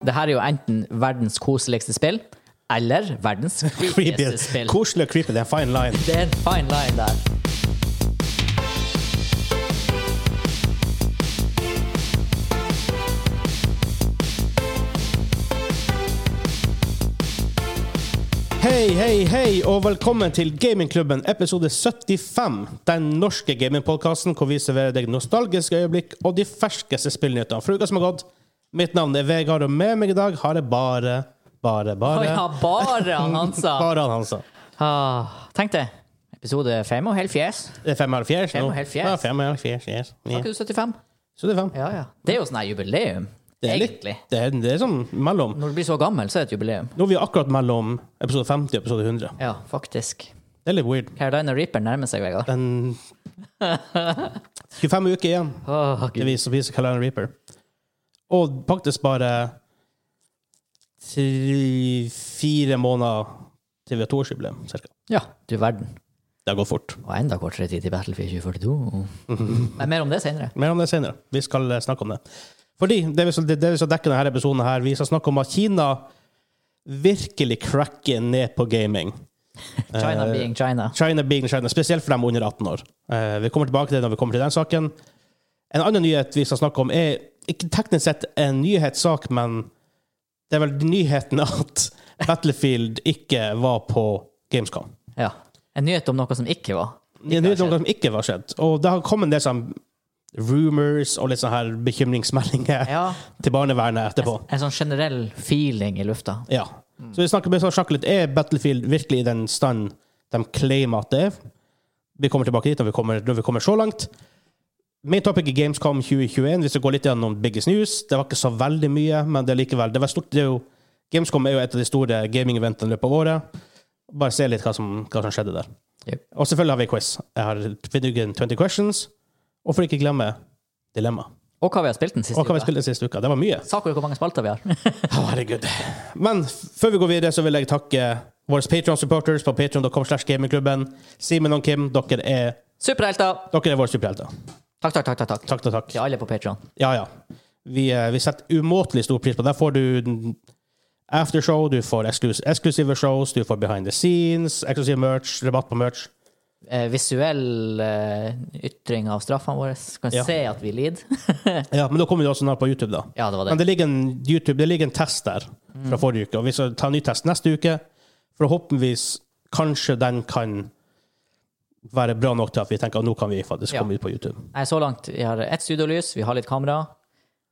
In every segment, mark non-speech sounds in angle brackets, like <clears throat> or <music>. Det her er jo enten verdens koseligste spill, eller <laughs> verdens Creepy. creepieste spill. Koselig og creepy. Det er fine line. Det er en fine line der. Hei, hei, hei, og velkommen til Gamingklubben episode 75. Den norske gamingpodkasten hvor vi serverer deg nostalgiske øyeblikk og de ferskeste spillnyhetene fra uka som har gått. Mitt navn er Vegard, og med meg i dag har jeg bare, bare, Å bare ja, bare han, Hansa. <laughs> Bare han, altså. Hansa. Ah, tenk det. Episode fem og hel fjes. Det er 75 nå. Fem og helt fjes. Ja, 75, yes. Var Ja. ikke du 75? 75. Ja, ja. Det er jo sånn her jubileum, Det er litt, egentlig. det er, det er sånn mellom. Når du blir så gammel, så er det et jubileum. Nå er vi akkurat mellom episode 50 og episode 100. Ja, faktisk. Det er litt weird. Carolina Reaper nærmer seg, Vegard. <laughs> Den 25 uker igjen. Åh, Det Gud. viser, viser Carolina Reaper. Og faktisk bare tre, fire måneder til vi har toårsjubileum, cirka. Ja, du verden. Det har gått fort. Og enda kortere tid til Battlefield <laughs> 2042. Men mer om det senere. Mer om det senere. Vi skal eh, snakke om det. Fordi det vi skal, det vi skal dekke denne episoden her, vi skal snakke om at Kina virkelig cracker ned på gaming. China Eh, being China. China being China, spesielt for dem under 18 år. Eh, vi kommer tilbake til det når vi kommer til den saken. En annen nyhet vi skal snakke om, er ikke teknisk sett en nyhetssak, men det er vel nyheten at Battlefield ikke var på Gamescom. Ja. En nyhet om noe som ikke var. Det er en nyhet om noe som ikke var skjedd. Og det har kommet en del sånn rumors og litt sånn her bekymringsmeldinger Ja, til barnevernet etterpå. en sånn generell feeling i lufta. Ja. Så vi snakker, vi skal snakke litt Er Battlefield virkelig i den stand de claimer at det er? Vi kommer tilbake dit når vi kommer, når vi kommer så langt. Main topic i Gamescom 2021, hvis vi går litt gjennom Biggest News Det var ikke så veldig mye, men det er likevel det var stort, det er jo, Gamescom er jo et av de store gaming-eventene i løpet av året. Bare se litt hva som, hva som skjedde der. Yep. Og selvfølgelig har vi quiz. Jeg har videogen 20 questions. Og for ikke glemme dilemma. Og hva vi har spilt den siste Og hva vi uka. spilte siste uka. Det var mye. Sa dere hvor mange spalter vi har? <laughs> Å, herregud. Men f- før vi går videre, så vil jeg takke våre Patreon-supporters på patreon.com slash gamingklubben. Simen og Kim, dere er, Superhelter! dere er våre superhelter. Takk, takk, takk. takk, takk. Takk og takk. Til alle på Patreon. Ja, ja. Vi, eh, vi setter umåtelig stor pris på det. Der får du n- aftershow, du får eksklus eksklusive shows, du får behind the scenes, eksklusiv merch, rabatt på merch. Eh, visuell eh, ytring av straffene våre. Kan Ja. se at vi lider. <laughs> Ja, men da kommer du også snart på YouTube, da. ja, det Mm. var det. Men det ligger en YouTube, det ligger en test der fra forrige uke, og vi skal ta en ny test neste uke. Forhåpentligvis kanskje den kan være bra nok til at vi tenker at nå kan vi faktisk Ja. komme ut på YouTube. Nei, så langt. Vi har ett studiolys, vi har litt kamera.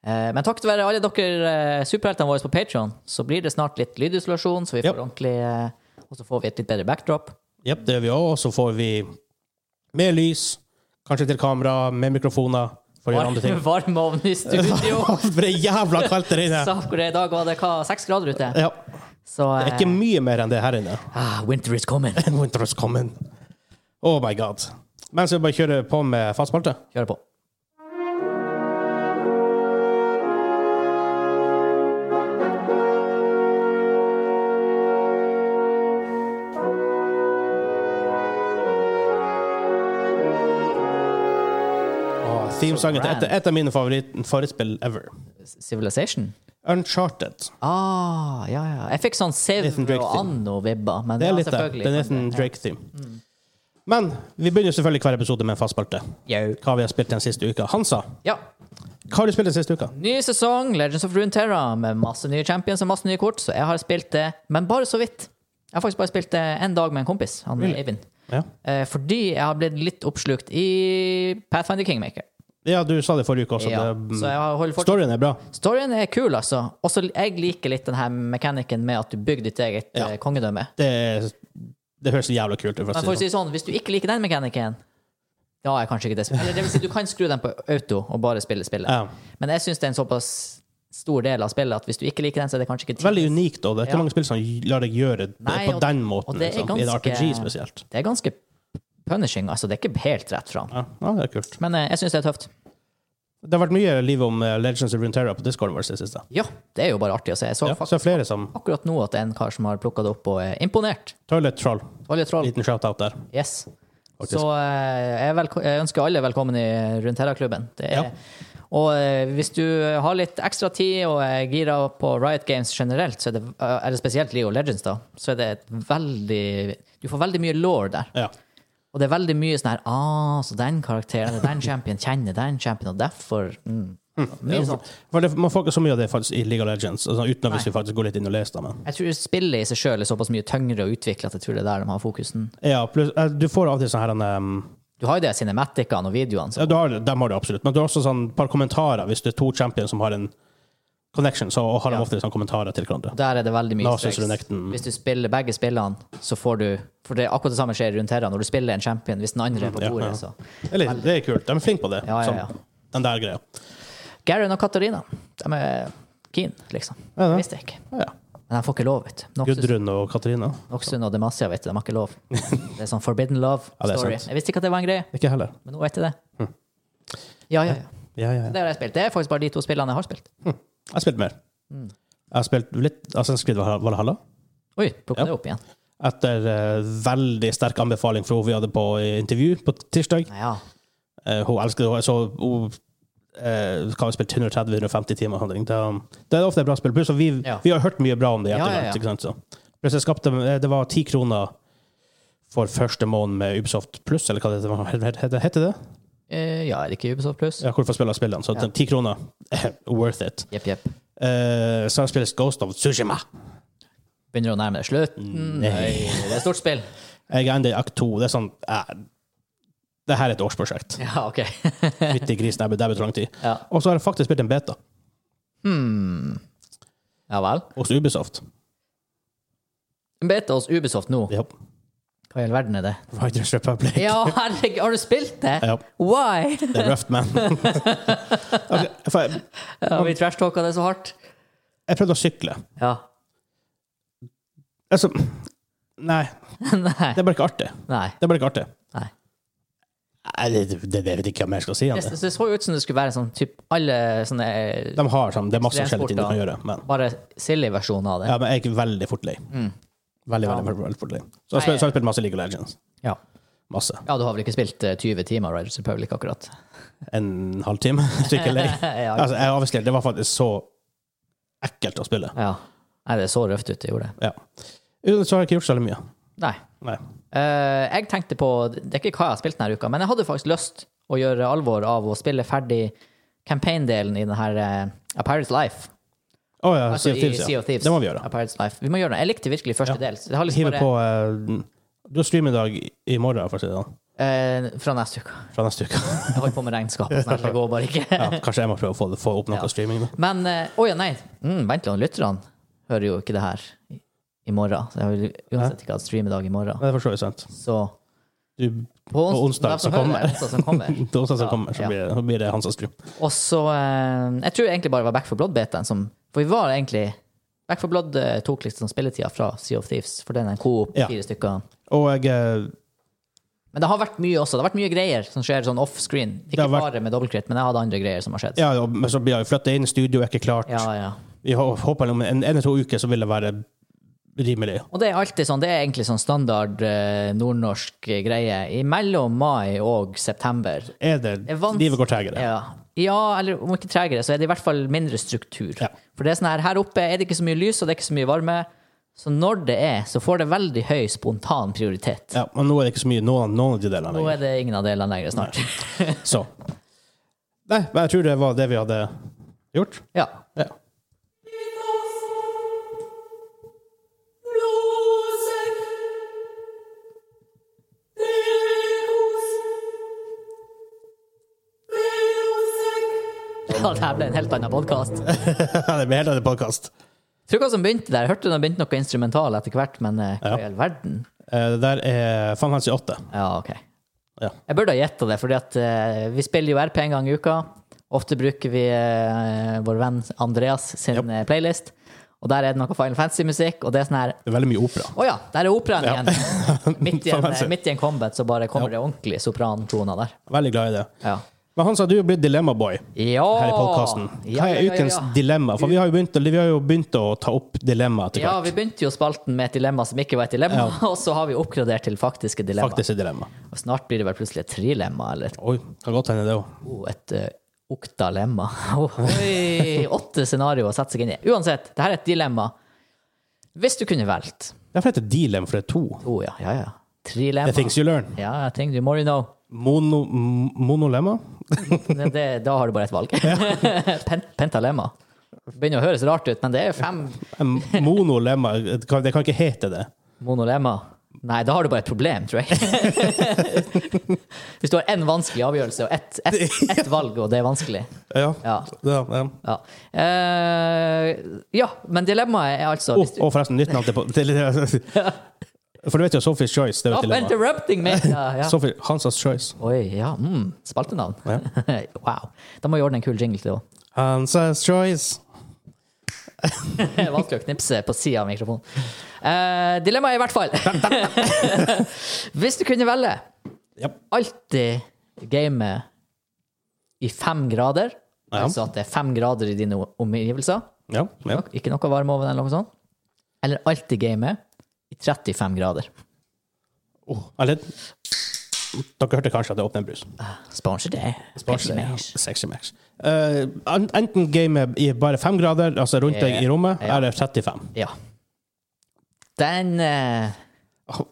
Eh, men takk til være alle dere eh, superheltene våre på Patreon. Så blir det snart litt lydisolasjon, så vi får Yep. ordentlig eh, Og så får vi et litt bedre backdrop. Jepp, det gjør vi òg. Og så får vi mer lys, kanskje til kamera, med mikrofoner, for å gjøre <laughs> andre ting. Varmeovn i studio. <laughs> For det er jævla kaldt der <laughs> inne! Sa dere i dag var det hva, seks grader ute? Ja, Så det er eh, ikke mye mer enn det her inne. ah, Winter is coming. Winter is coming. Oh my god. Men så bare kjøre på med fast spalte. Kjør på. Og Themesangen til et, et av mine favoritt, favorittspill ever. Civilization? Uncharted. Ah, ja, ja. Jeg fikk sånn Siv Nathan Drake og Anno-vibber. Men Det er ja, Mm. litt det. selvfølgelig. Det er Nathan Drake-theme. Men vi begynner selvfølgelig hver episode med en fast spalte. Jau. Hva vi har spilt den siste uka. Hansa, Ja. hva har du spilt den siste uka? Ny sesong, Legends of Runeterra, med masse nye champions og masse nye kort, så jeg har spilt det, men bare så vidt. Jeg har faktisk bare spilt det en dag med en kompis, han Eivind. Ja. Eh, fordi jeg har blitt litt oppslukt i Pathfinder Kingmaker. ja, du sa det forrige uke også. Ja. Det, mm, Så jeg holder fortsatt storyen er bra. Storyen er kul, altså. Også jeg liker litt den her mekanikken med at du bygger ditt eget Ja. eh, kongedømme. Det, er- det høres jævla kult ut. for å Men si for å det sånn. si det sånn, hvis du ikke liker den mekanikken Da er kanskje ikke det spillet. Eller det vil si, du kan skru den på auto og bare spille spillet. sånn. Ja. Men jeg syns det er en såpass stor del av spillet at hvis du ikke liker den, så er det kanskje ikke tid. Veldig unikt, og det er ikke Ja. mange spill som lar deg gjøre det Nei, på og- og den måten. det er liksom. I en ganske- RPG spesielt. Det er ganske punishing, altså. Det er ikke helt rett fram. Ja. ja, det er kult. Men eh, jeg syns det er tøft. Det har vært mye liv om eh, Legends of Runeterra på discorden vår i det siste. Ja, det er jo bare artig å se. Jeg så Ja, så faktisk er det flere som akkurat nå at det er en kar som har plukka det opp og er imponert. Toilet Troll. Oljetroll. Liten shout-out der. Yes. Faktisk. Så eh, jeg, velko- jeg ønsker alle velkommen i Runeterra-klubben. Det er- Ja. Og eh, hvis du har litt ekstra tid og er gira på Riot Games generelt, så er det, eh, er det spesielt League of Legends, da, så er det et veldig Du får veldig mye law der. Ja. Og det er veldig mye sånn her ah, så den karakteren, den champion kjenner den champion, og derfor mm. Hm. Mye sånt. For det, man får ikke så mye av det faktisk i League of Legends, altså, uten hvis vi faktisk går litt inn og leser det. Men. Jeg tror spillet i seg sjøl er såpass mye tyngre å utvikle at jeg tror det er der de har fokusen. Ja, pluss, eh, du får av og til sånn her en, um, Du har jo det cinematicene og videoene. Så. Ja, du har, dem har du absolutt. Men du har også sånn par kommentarer hvis det er to champions som har en connection, så har de ofte sånn kommentarer til hverandre. Der er det veldig mye Nasus Renekton. Hvis du spiller begge spillene, så får du For det er akkurat det samme skjer rundt her. da. Når du spiller en champion, hvis den andre er på Ja, bordet, ja. så Det er litt- det er kult. De er flinke på det. Ja, ja, ja. Sånn, den der greia. Garen og Katarina, de er keen, liksom. Ja, ja. Visste jeg ikke. Ja, ja. Men de får ikke lov, vet du. Noxus- Gudrun og Katarina. Noxun og Demacia, vet du, de har ikke lov. <laughs> Det er sånn forbidden Ja, det er love-story. sant. Hm. jeg visste ikke at det var en greie, Ikke heller. men nå vet jeg det. Ja, ja, ja. Ja, ja, ja. Det har jeg spilt. Det er faktisk bare de to spillene jeg har spilt. Jeg har spilt mer. Mm. Jeg har spilt litt Assassin's Creed Valhalla- Valhalla. Oi, plukka Ja. det opp igjen. Etter eh, veldig sterk anbefaling fra hun vi hadde på intervju på tirsdag. Ja. Eh, hun elsker det. Så hun eh, kan ha spilt 130-150 timer. og sånne ting. Det, er- det er ofte et bra spill. Pluss at vi, Ja. vi har hørt mye bra om det i Ja, ja, etterkant. ja. ikke sant? Så. Pluss jeg skapte, eh, det var ti kroner for første måned med Ubisoft Pluss, eller hva det heter. Hva Heter det? Eh, ja, er det ikke Ubisoft Plus? Ja, hvorfor spiller jeg spillene? Så Ja. ti kroner, worth it. Jepp, jepp. Eh, så har jeg spilt Ghost of Tsushima. Begynner å nærme deg Mm. slutten. Nei, det er et stort spill. Jeg er enda i akt to. Det er sånn eh, Det her er et årsprosjekt. <laughs> Ja, OK. Fytti grisen, det blir lang tid. Ja, Og så har jeg faktisk spilt en beta Hmm. ja vel. hos Ubisoft. Beta hos Ubisoft nå. Ja. Hva i all verden er det? Riders Republic. <laughs> Ja, herregud, har du spilt det? Ja. Why? Det er røft, <laughs> man. Ok, for jeg, Ja, vi trashtalka det så hardt. jeg prøvde å sykle. Ja. Altså Nei, <laughs> Nei. det er bare ikke artig. Nei. Det er bare ikke artig. Nei. Nei, det, det, det vet jeg ikke hva mer jeg skal si. altså. om Det, det. det så jo ut som det skulle være sånn typ alle sånne eh, De har sånn, Det er masse forskjellige ting du kan Ekstremsport, gjøre, men, bare silly versjoner av det. ja, men jeg er veldig fort lei. Mm. Veldig, veldig, veldig, veldig fort lei. Så jeg, spil, så har jeg spilt masse League of Legends. Ja. Masse. ja, du har vel ikke spilt eh, 20 timer Riders Republic akkurat? En halvtime. Skikkelig lei. <laughs> Ja. Altså, jeg avslørte, det var faktisk så ekkelt å spille. ja. Nei, det så røft ut, det gjorde det. Ja. Uten så har jeg ikke gjort så veldig mye. Nei. Nei. Eh, jeg tenkte på Det er ikke hva jeg har spilt denne uka, men jeg hadde faktisk lyst å gjøre alvor av å spille ferdig campaign-delen i denne her eh, A Pirate's Life. Å ja, Altså Sea of i Thieves, Sea of ja. Thieves. Det må vi gjøre. A Pirate's Life. Vi må gjøre det. Jeg likte virkelig første del. Så det har liksom Hive bare på eh, Du har stream i dag i morgen, for å si det sånn. eh, Fra neste uke. Fra neste uke. <laughs> Jeg holder på med regnskap. og sånn her, Det går bare ikke. ja, kanskje jeg må prøve å få, det, få opp noe Ja. streaming. Da. Men eh, Å ja, nei. Mm, vent litt, lytterne hører jo ikke det her i, i morgen. Så jeg vil uansett ikke ha stream i dag i morgen. Men det forstår jeg sant. Så Du, på ons- På onsdag hvem som som hører det, onsdag som kommer. det er onsdag som Ja, kommer, så ja. blir, det- så blir det hans stream. Og så eh, Jeg tror egentlig bare det var Back for Blood-betaen som For vi var egentlig Back for Blood eh, tok liksom spilletida fra Sea of Thieves, for den er en coop, Ja. fire stykker. Og jeg, eh, Men det har vært mye også. Det har vært mye greier som skjer sånn offscreen. Ikke har vært- bare med dobbeltkritt, men jeg hadde andre greier som har skjedd. ja, og- men så blir jeg flytta inn, studio er ikke klart. Ja, ja. Vi hå- håper om en, en eller to uker så vil det være rimelig. Og det er alltid sånn, det er egentlig sånn standard eh, nordnorsk greie I mellom mai og september. Er det, er vans- Livet går tregere. Ja. ja, eller om ikke tregere, så er det i hvert fall mindre struktur. Ja. For det er sånn her, her oppe er det ikke så mye lys, og det er ikke så mye varme. Så når det er, så får det veldig høy spontan prioritet. Ja, og nå er det ikke så mye noen, noen av de delene. Nå er det ingen av delene lenger snart. Så. Nei, men jeg tror det var det vi hadde gjort. <laughs> Ja. Ja. <laughs> ja, det her ble en helt annen podkast. det blir helt annen podkast. Tror ikke hva som begynte der. Jeg hørte det begynte noe instrumental etter hvert, men eh, hva i all verden? Eh, det der er Fan Fancy 8. Ja, ok. Ja. Jeg burde ha gjetta det, fordi at eh, vi spiller jo RP en gang i uka. Ofte bruker vi eh, vår venn Andreas sin eh, playlist, og der er det noe Final Fantasy-musikk, og det er sånn her Det er veldig mye opera. Å ja, der er operaen <laughs> igjen! midt, i en, Fancy. midt i en combat så bare kommer det ordentlig soprantoner der. Veldig glad i det. Ja. Men han sa du er blitt dilemma-boy ja. her i podkasten. Hva er ukens dilemma? For vi har jo begynt, vi har jo begynt å ta opp dilemma etter Ja, hvert. vi begynte jo spalten med et dilemma som ikke var et dilemma, <laughs> og så har vi oppgradert til faktiske dilemma. Faktisk et dilemma. Og snart blir det vel plutselig et trilemma, eller et, Oi, kan godt hende det òg. oh, et eh, Oktalemma. <laughs> Oh, Oi! Åtte scenarioer å sette seg inn i. Uansett, det her er et dilemma. Hvis du kunne valgt Derfor heter det D-lem, for det er to. Å ja, ja, ja. The Trilemma. things you learn. Ja, jeg tenker du more you know. Mono, m- monolemma? Det, det, da har du bare ett valg. <laughs> Pen, pentalemma. Begynner å høres rart ut, men det er fem Em, Monolemma, det kan, det kan ikke hete det. monolemma. Nei, da har du bare et problem, tror jeg. <laughs> Hvis du har én vanskelig avgjørelse og ett ett- <laughs> ett valg, og det er vanskelig. Ja. Ja. ja, ja. Ja, Eh, ja men dilemmaet er altså Og hvis du, og forresten, nytt navn til på- til- <laughs> For du vet jo Sophie's Choice. Det er jo et Stop dilemma. interrupting me! Ja, ja. <laughs> Sophie, Hansas Choice. Oi, ja. Mm, spaltenavn. <laughs> wow. Da må vi ordne en kul jingle til òg. Hansas Choice. Vanskelig å knipse på sida av mikrofonen. Eh, dilemmaet, i hvert fall. <laughs> Hvis du kunne velge Ja. alltid game i fem grader, Ja. altså at det er fem grader i dine omgivelser, Ja, ja. ikke noe varme over den, eller noe sånt, eller alltid game i 35 grader. Oh, eller, dere hørte kanskje at det åpner en brus. Sponsor det. Pepsi Sparse, ja. Max. Sexy Max. Eh, en- enten gamet i bare fem grader, altså rundt deg i rommet, Ja. eller 35. Ja. Den eh,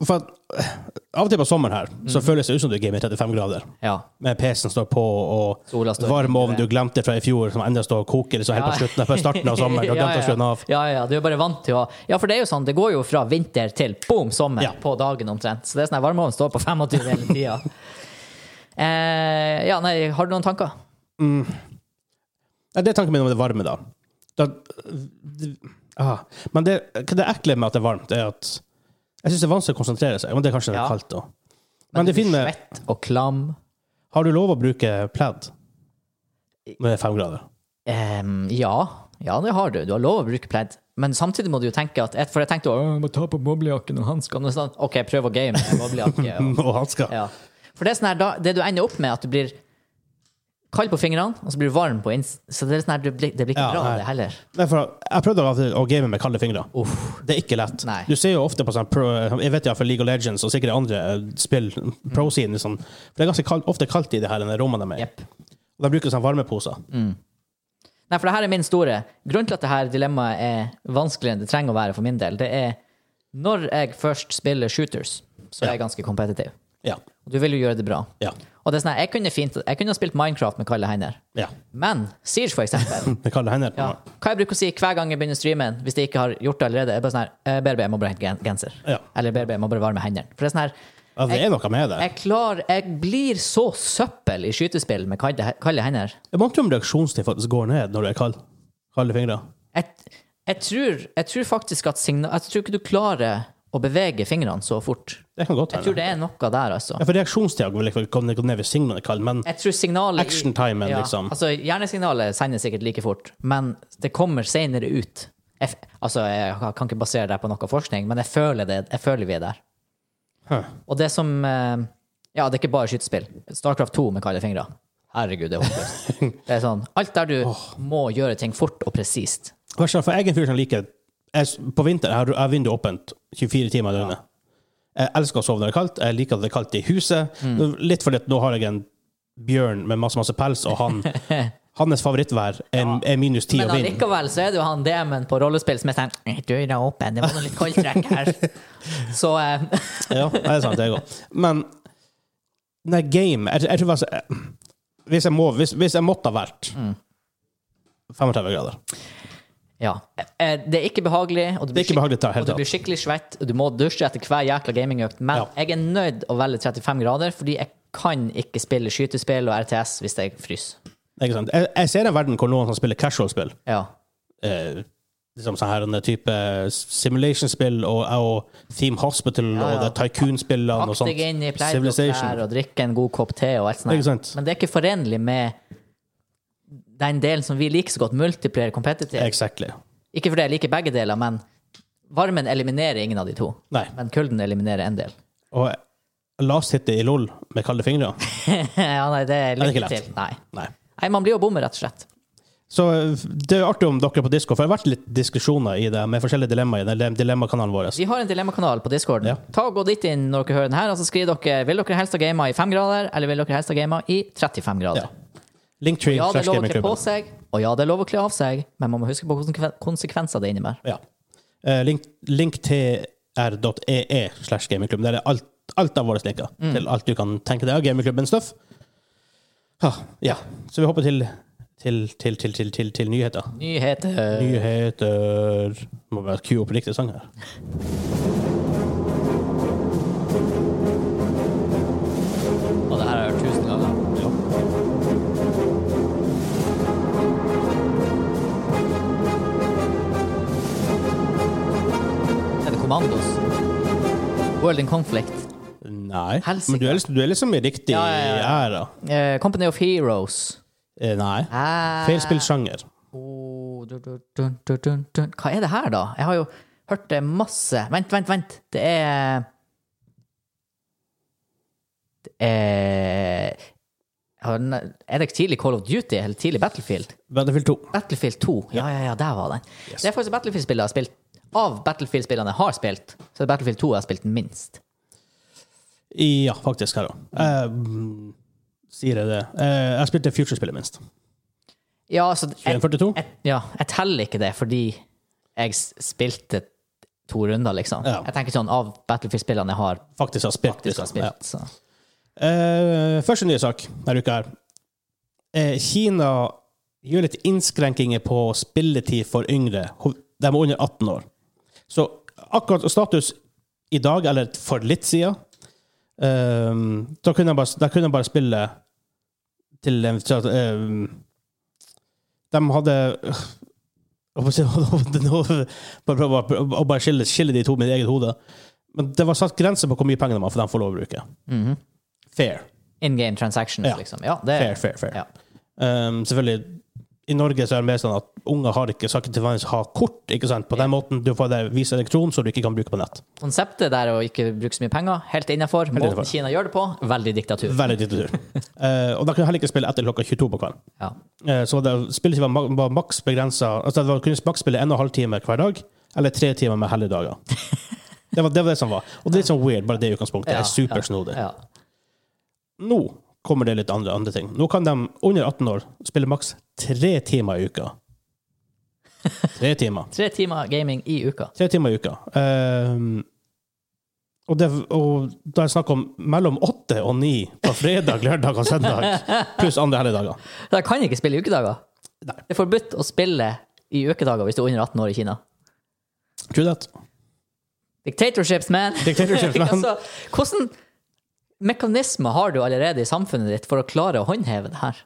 For at, eh, av og til på sommeren her, Mm. så føles det ut som du gamer i 35 grader. Ja. Med PC-en står på, og Sola står varmeovnen du glemte fra i fjor, som ennå står og koker liksom, helt på Ja. slutten, på starten av sommeren. Du har glemt å skru den av. <laughs> Ja, ja, du er bare vant til å Ja, for det er jo sånn, det går jo fra vinter til boom, sommer Ja. på dagen omtrent. Så det er sånn at varmeovnen står på <laughs> 25 hele tida. eh, ja, nei, har du noen tanker? Ja, det er tanken min om det varme, da. da ah. Men det, det ekle med at det er varmt, er at jeg syns det er vanskelig å konsentrere seg. Men det er kanskje det Ja. er kaldt, da. Men det fine med Svett og klam. Har du lov å bruke pledd når det er fem grader? Ehm, ja. Ja, det har du. Du har lov å bruke pledd. Men samtidig må du jo tenke at For jeg tenkte å, jeg må ta på boblejakken og hanskene. og Sånn. OK, prøv å game med boblejakke. og- <laughs> <laughs> Og hansker? Ja. For det, er sånn her, da, det du ender opp med, er at du blir kald på fingrene, og så blir du varm på inns... Så det, er sånn her, det, blir, det blir ikke Ja, bra, nei. det heller. Nei, for jeg prøvde av og til å game med kalde fingre. Det er ikke lett. Nei. Du ser jo ofte på sånn pro, Jeg vet iallfall League of Legends og sikkert andre eh, spill, Mm. pro-scene sånn, For det er ganske kaldt, ofte kaldt i det her denne rommene de er i. Jepp. Og de bruker sånn varmeposer. Mm. Nei, for det her er min store Grunnen til at det her dilemmaet er vanskeligere enn det trenger å være for min del, det er når jeg først spiller shooters, så er jeg ganske kompetitiv. Ja. Og du vil jo gjøre det bra. Ja. Og det er sånn her, jeg kunne fint Jeg kunne ha spilt Minecraft med kalde hender, ja. men Siege, for <laughs> eksempel Med kalde hender. ja. Hva jeg bruker å si hver gang jeg begynner streamen, hvis jeg ikke har gjort det allerede, er bare sånn her eh, BRB, jeg må bare hente gen- genser. Ja. Eller BRB, jeg må bare varme hendene. For det er sånn her Ja, Altså, det er noe med det. Jeg klar, jeg blir så søppel i skytespill med kalde, kalde hender. Jeg vant jo om reaksjonstid faktisk går ned når du er kald. Kalde fingre. Jeg, jeg, tror, jeg tror faktisk at signal... Jeg tror ikke du klarer å bevege fingrene så fort. Det kan godt Jeg tror hende. det er noe der, altså. Ja, for reaksjonstida går vel ikke gå ned hvis signalet er kaldt, men Jeg tror signalet i- Action-timen, liksom. Altså, hjernesignalet sendes sikkert like fort, men det kommer senere ut. Jeg, f- altså, jeg kan ikke basere det på noe forskning, men jeg føler, det, jeg føler vi er der. Huh. Og det som eh, Ja, det er ikke bare skytespill. Starcraft 2 med kalde fingre. Herregud, det er <laughs> håpløst. Det er sånn Alt der du må gjøre ting fort og presist. Kanskje for jeg er en fyr som liker jeg, s- På vinter har jeg vinduet åpent 24 timer i døgnet. Jeg elsker å sove når det er kaldt. Jeg liker at det er kaldt i huset. Mm. Litt fordi at nå har jeg en bjørn med masse masse pels, og han, <laughs> hans favorittvær er, er minus 10 Men og vind. allikevel så er det jo han DM-en på rollespill som er sånn «Eh, Døra er åpen, det var noe litt koldtrekk <laughs> her. Så eh, <laughs> Ja, det er sant, det er godt. Men nei, game jeg, jeg tror faktisk jeg, hvis, jeg må, hvis, hvis jeg måtte ha vært Mm. 35 grader ja. Eh, Det er ikke behagelig, og du Det er blir, ikke behagelig å ta og helt du blir skikkelig svett, og du må dusje etter hver jækla gamingøkt, men Ja. jeg er nødt å velge 35 grader, fordi jeg kan ikke spille skytespill og RTS hvis jeg fryser. Ikke sant? Jeg, jeg ser en verden hvor noen som spiller casual-spill, Ja. eh, liksom sånn her en type simulation-spill og, og Theme Hospital ja. og det Tycoon-spillene og Pakk sånt. deg inn i Civilization. pleiebokklær og drikke en god kopp te og alt sånt. Ikke sant? Men det er ikke forenlig med den delen som vi liker så godt, multiplayer competitive. Exactly. Ikke fordi jeg liker begge deler, men varmen eliminerer ingen av de to. Nei. Men kulden eliminerer en del. <laughs> Og last hit i LOL med kalde fingre. ja, nei, det er det er lykke ikke lett. til. Nei. Nei. nei, man blir jo bommer, rett og slett. Så det er artig om dere på Disco, for det har vært litt diskusjoner i det med forskjellige dilemmaer i den dilemmakanalen vår. Vi har en dilemmakanal på Discorden. Ja. Ta og Gå dit inn når Altså, dere hører den her, og så skriver dere vil dere helst ha gamet i 5 grader, eller vil dere helst ha gamet i 35 grader. Ja. Linktree Ja, det er slash lov å kle på gamingklubben. seg, og ja, det er lov å kle av seg, men man må huske på konsekven- konsekvenser det innebærer. Ja. Eh, link, linktr.ee slash gamingklubben. Der er alt, alt av våre linker Mm. til alt du kan tenke deg av gamingklubben-stuff. Ha, Ja. Så vi hopper til, til, til, til, til, til, til nyheter. Nyheter. Nyheter Må bare queue opp riktig sang her. Og det her har jeg hørt tusen ganger. Er det Commandos? World in Conflict. Nei. Helsike. Men du er, liksom- du er liksom i riktig Ja, ja, ja. æra. Eh, Company of Heroes. Eh, nei. Ah. Feil spillsjanger. Oh, dun, dun, dun, dun, dun, dun. Hva er det her, da? Jeg har jo hørt det masse. Vent, vent, vent. Det er Det er Ja, den Er er det tidlig Call of Duty eller tidlig Battlefield? Battlefield 2. Battlefield 2. Ja, ja, ja, der var den. Det er faktisk Battlefield-spillet jeg har spilt. Av Battlefield-spillene jeg har spilt, så er det Battlefield 2 jeg har spilt minst. Ja, faktisk. Her Mm. òg. sier jeg det. Eh, jeg spilte Future-spillet minst. Ja, altså jeg, 4142? jeg, ja, jeg teller ikke det fordi jeg s- spilte to runder, liksom. Ja. Jeg tenker sånn av Battlefield-spillene jeg har Faktisk har spilt. faktisk har liksom. Ja. spilt, så Eh, første nye sak denne uka her. Eh, Kina gjør litt innskrenkinger på spilletid for yngre. Ho- De er under 18 år. Så akkurat status i dag, eller for litt siden, eh, da kunne jeg bare, da kunne jeg bare spille til en til at, eh, De hadde øh, jeg må si- <laughs> nå- Bare prøve å bare skille, skille de to med mitt eget hode. Men det var satt grenser på hvor mye penger de har, for de får lov å bruke. Fair. In game transactions, Ja. liksom. Ja, det Fair, fair, fair. Ja. Um, Eh, selvfølgelig, i Norge så er det mer sånn at unger har ikke sagt til vanligvis ha kort. ikke sant? På den måten du får det vist elektron som du ikke kan bruke på nett. Konseptet der å ikke bruke så mye penger, helt innafor. Måten innenfor. Kina gjør det på, veldig diktatur. Veldig diktatur. uh, og da kunne jeg heller ikke spille etter klokka 22 på kvelden. Ja. Uh, så var det, spilletid var, ma- var maks begrensa altså det var, kunne maks spille en og en halv time hver dag, eller tre timer med helligdager. Det var, det var det som var. Og det er litt sånn weird, bare det utgangspunktet. Ja, Det er supersnodig. Ja. Nå kommer det litt andre, andre ting. Nå kan de under 18 år spille maks tre timer i uka. Tre timer. Tre timer gaming i uka. Tre timer i uka. Ehm, og, det, og da er det snakk om mellom åtte og ni på fredag, <laughs> lørdag og søndag. Pluss andre helligdager. Jeg kan ikke spille i ukedager. Nei. Det er forbudt å spille i ukedager hvis du er under 18 år i Kina. True that. Dictatorships, man! Dictatorships, man. altså, hvordan mekanismer har du allerede i samfunnet ditt for å klare å håndheve det her?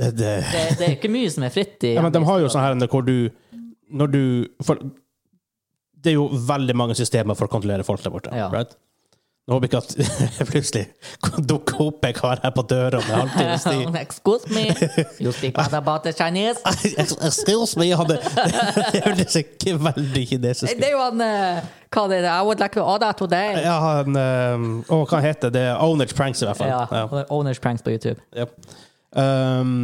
Det, det. Det, det er ikke mye som er fritt i Ja, men de har jo sånn her hvor du Når du for, Det er jo veldig mange systemer for å kontrollere folk der borte. Ja. Right? Nå håper jeg ikke at <laughs> plutselig dukker opp en kar her på døra med halvtimes tid. Excuse <laughs> me, you speak bad about the Chinese. Excuse me, jeg hadde <laughs> Det hørtes ikke veldig kinesisk Det ut. er jo han eh, Hva det er det? I would like to order today. Ja, han ehm, Å, hva heter det? Ownage Pranks, i hvert fall. Ja, Ja. og det er Owners pranks på YouTube. Ja. Ehm,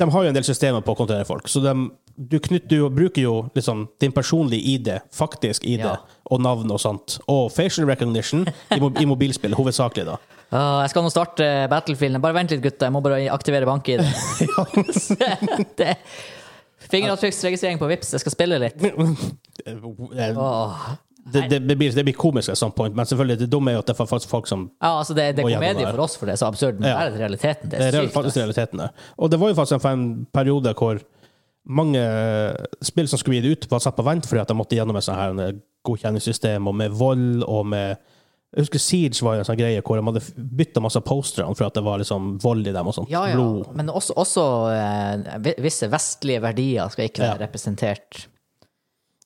de har jo en del systemer på å kontrollere folk, så de, du, knytter, du bruker jo liksom din personlige ID, faktisk ID, Ja. og navn og sånt, og facial recognition i, mo i mobilspill, hovedsakelig, da. Åh, jeg skal nå starte Battlefield. Bare vent litt, gutter. Jeg må bare aktivere bank-ID. <laughs> Det- Fingeravtrykksregistrering på Vips. Jeg skal spille litt. Åh. Det, det, det, blir, det blir komisk at some point, men selvfølgelig det dumme er jo at det er faktisk folk som Ja, altså det, det Må er gjennom komedie det her. for oss, for det er så absurd, men Ja. det er realiteten. Det Det er er real- sykt. faktisk altså. realitetene. Og det var jo faktisk en en periode hvor mange eh, spill som skulle gi det ut, var satt på vent fordi at de måtte gjennom et sånt her eh, godkjenningssystem, og med vold og med jeg husker Siege var jo en sånn greie hvor de hadde bytta masse postere for at det var liksom vold i dem og sånt. Ja, ja. Blod. Men også, også eh, vi- visse vestlige verdier skal ikke være Ja. representert.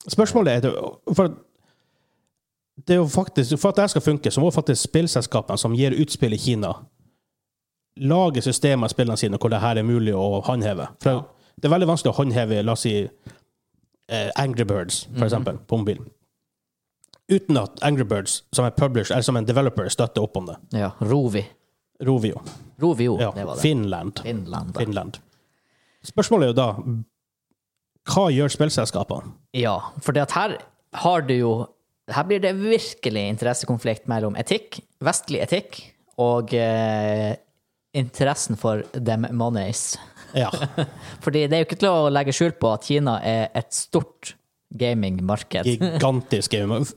Spørsmålet er det- for det er jo faktisk, For at dette skal funke, så må faktisk spillselskapene som gir ut spill i Kina, lage systemer i spillene sine hvor det her er mulig å håndheve. For Det er veldig vanskelig å håndheve la oss si, eh, Angry Birds, Mhm. for eksempel, på mobil. Uten at Angry Birds, som en publisher, eller som en developer, støtter opp om det. Ja. Rovi. Rovio. Rovio, Ja, det var det. Finland. Finland. da. Finland. Spørsmålet er jo da Hva gjør spillselskapene? Ja, for det at her har du jo Her blir det virkelig interessekonflikt mellom etikk, vestlig etikk, og eh, interessen for them monies. Ja. Fordi det er jo ikke til å legge skjul på at Kina er et stort gamingmarked. Gigantisk gaming. Det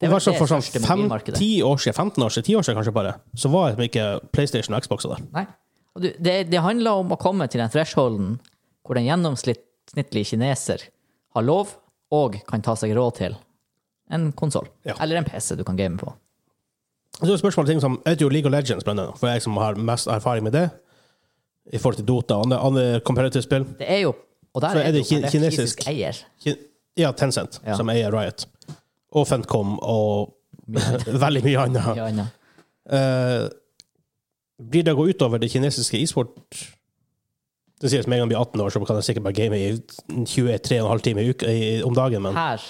Det var var sånn det for sånn største fem, mobilmarkedet. 10 år siden, 15 år siden, 10 år siden kanskje bare, så var liksom ikke PlayStation og Xbox der. Nei. Og du, det, det handler om å komme til den thresholden hvor den gjennomsnittlige kineser har lov og kan ta seg råd til en konsoll. Ja. Eller en PC du kan game på. Så er det spørsmål om ting som Jeg vet jo League of Legends, blant annet, for jeg som har mest erfaring med det, i forhold til Dota og andre, andre competitive spill. Det er jo Og der Så er, er det det jo ki- en kinesisk kinesisk? eier. Ki- Ja, Tencent, Ja. som eier Riot. Og Fentcom og <laughs> veldig mye annet. Ja, ja. Eh, blir det å gå utover det kinesiske e-sport Det sies med en gang jeg blir 18 år, så kan jeg sikkert bare game i 23,5 timer i uka, i, om dagen, men Her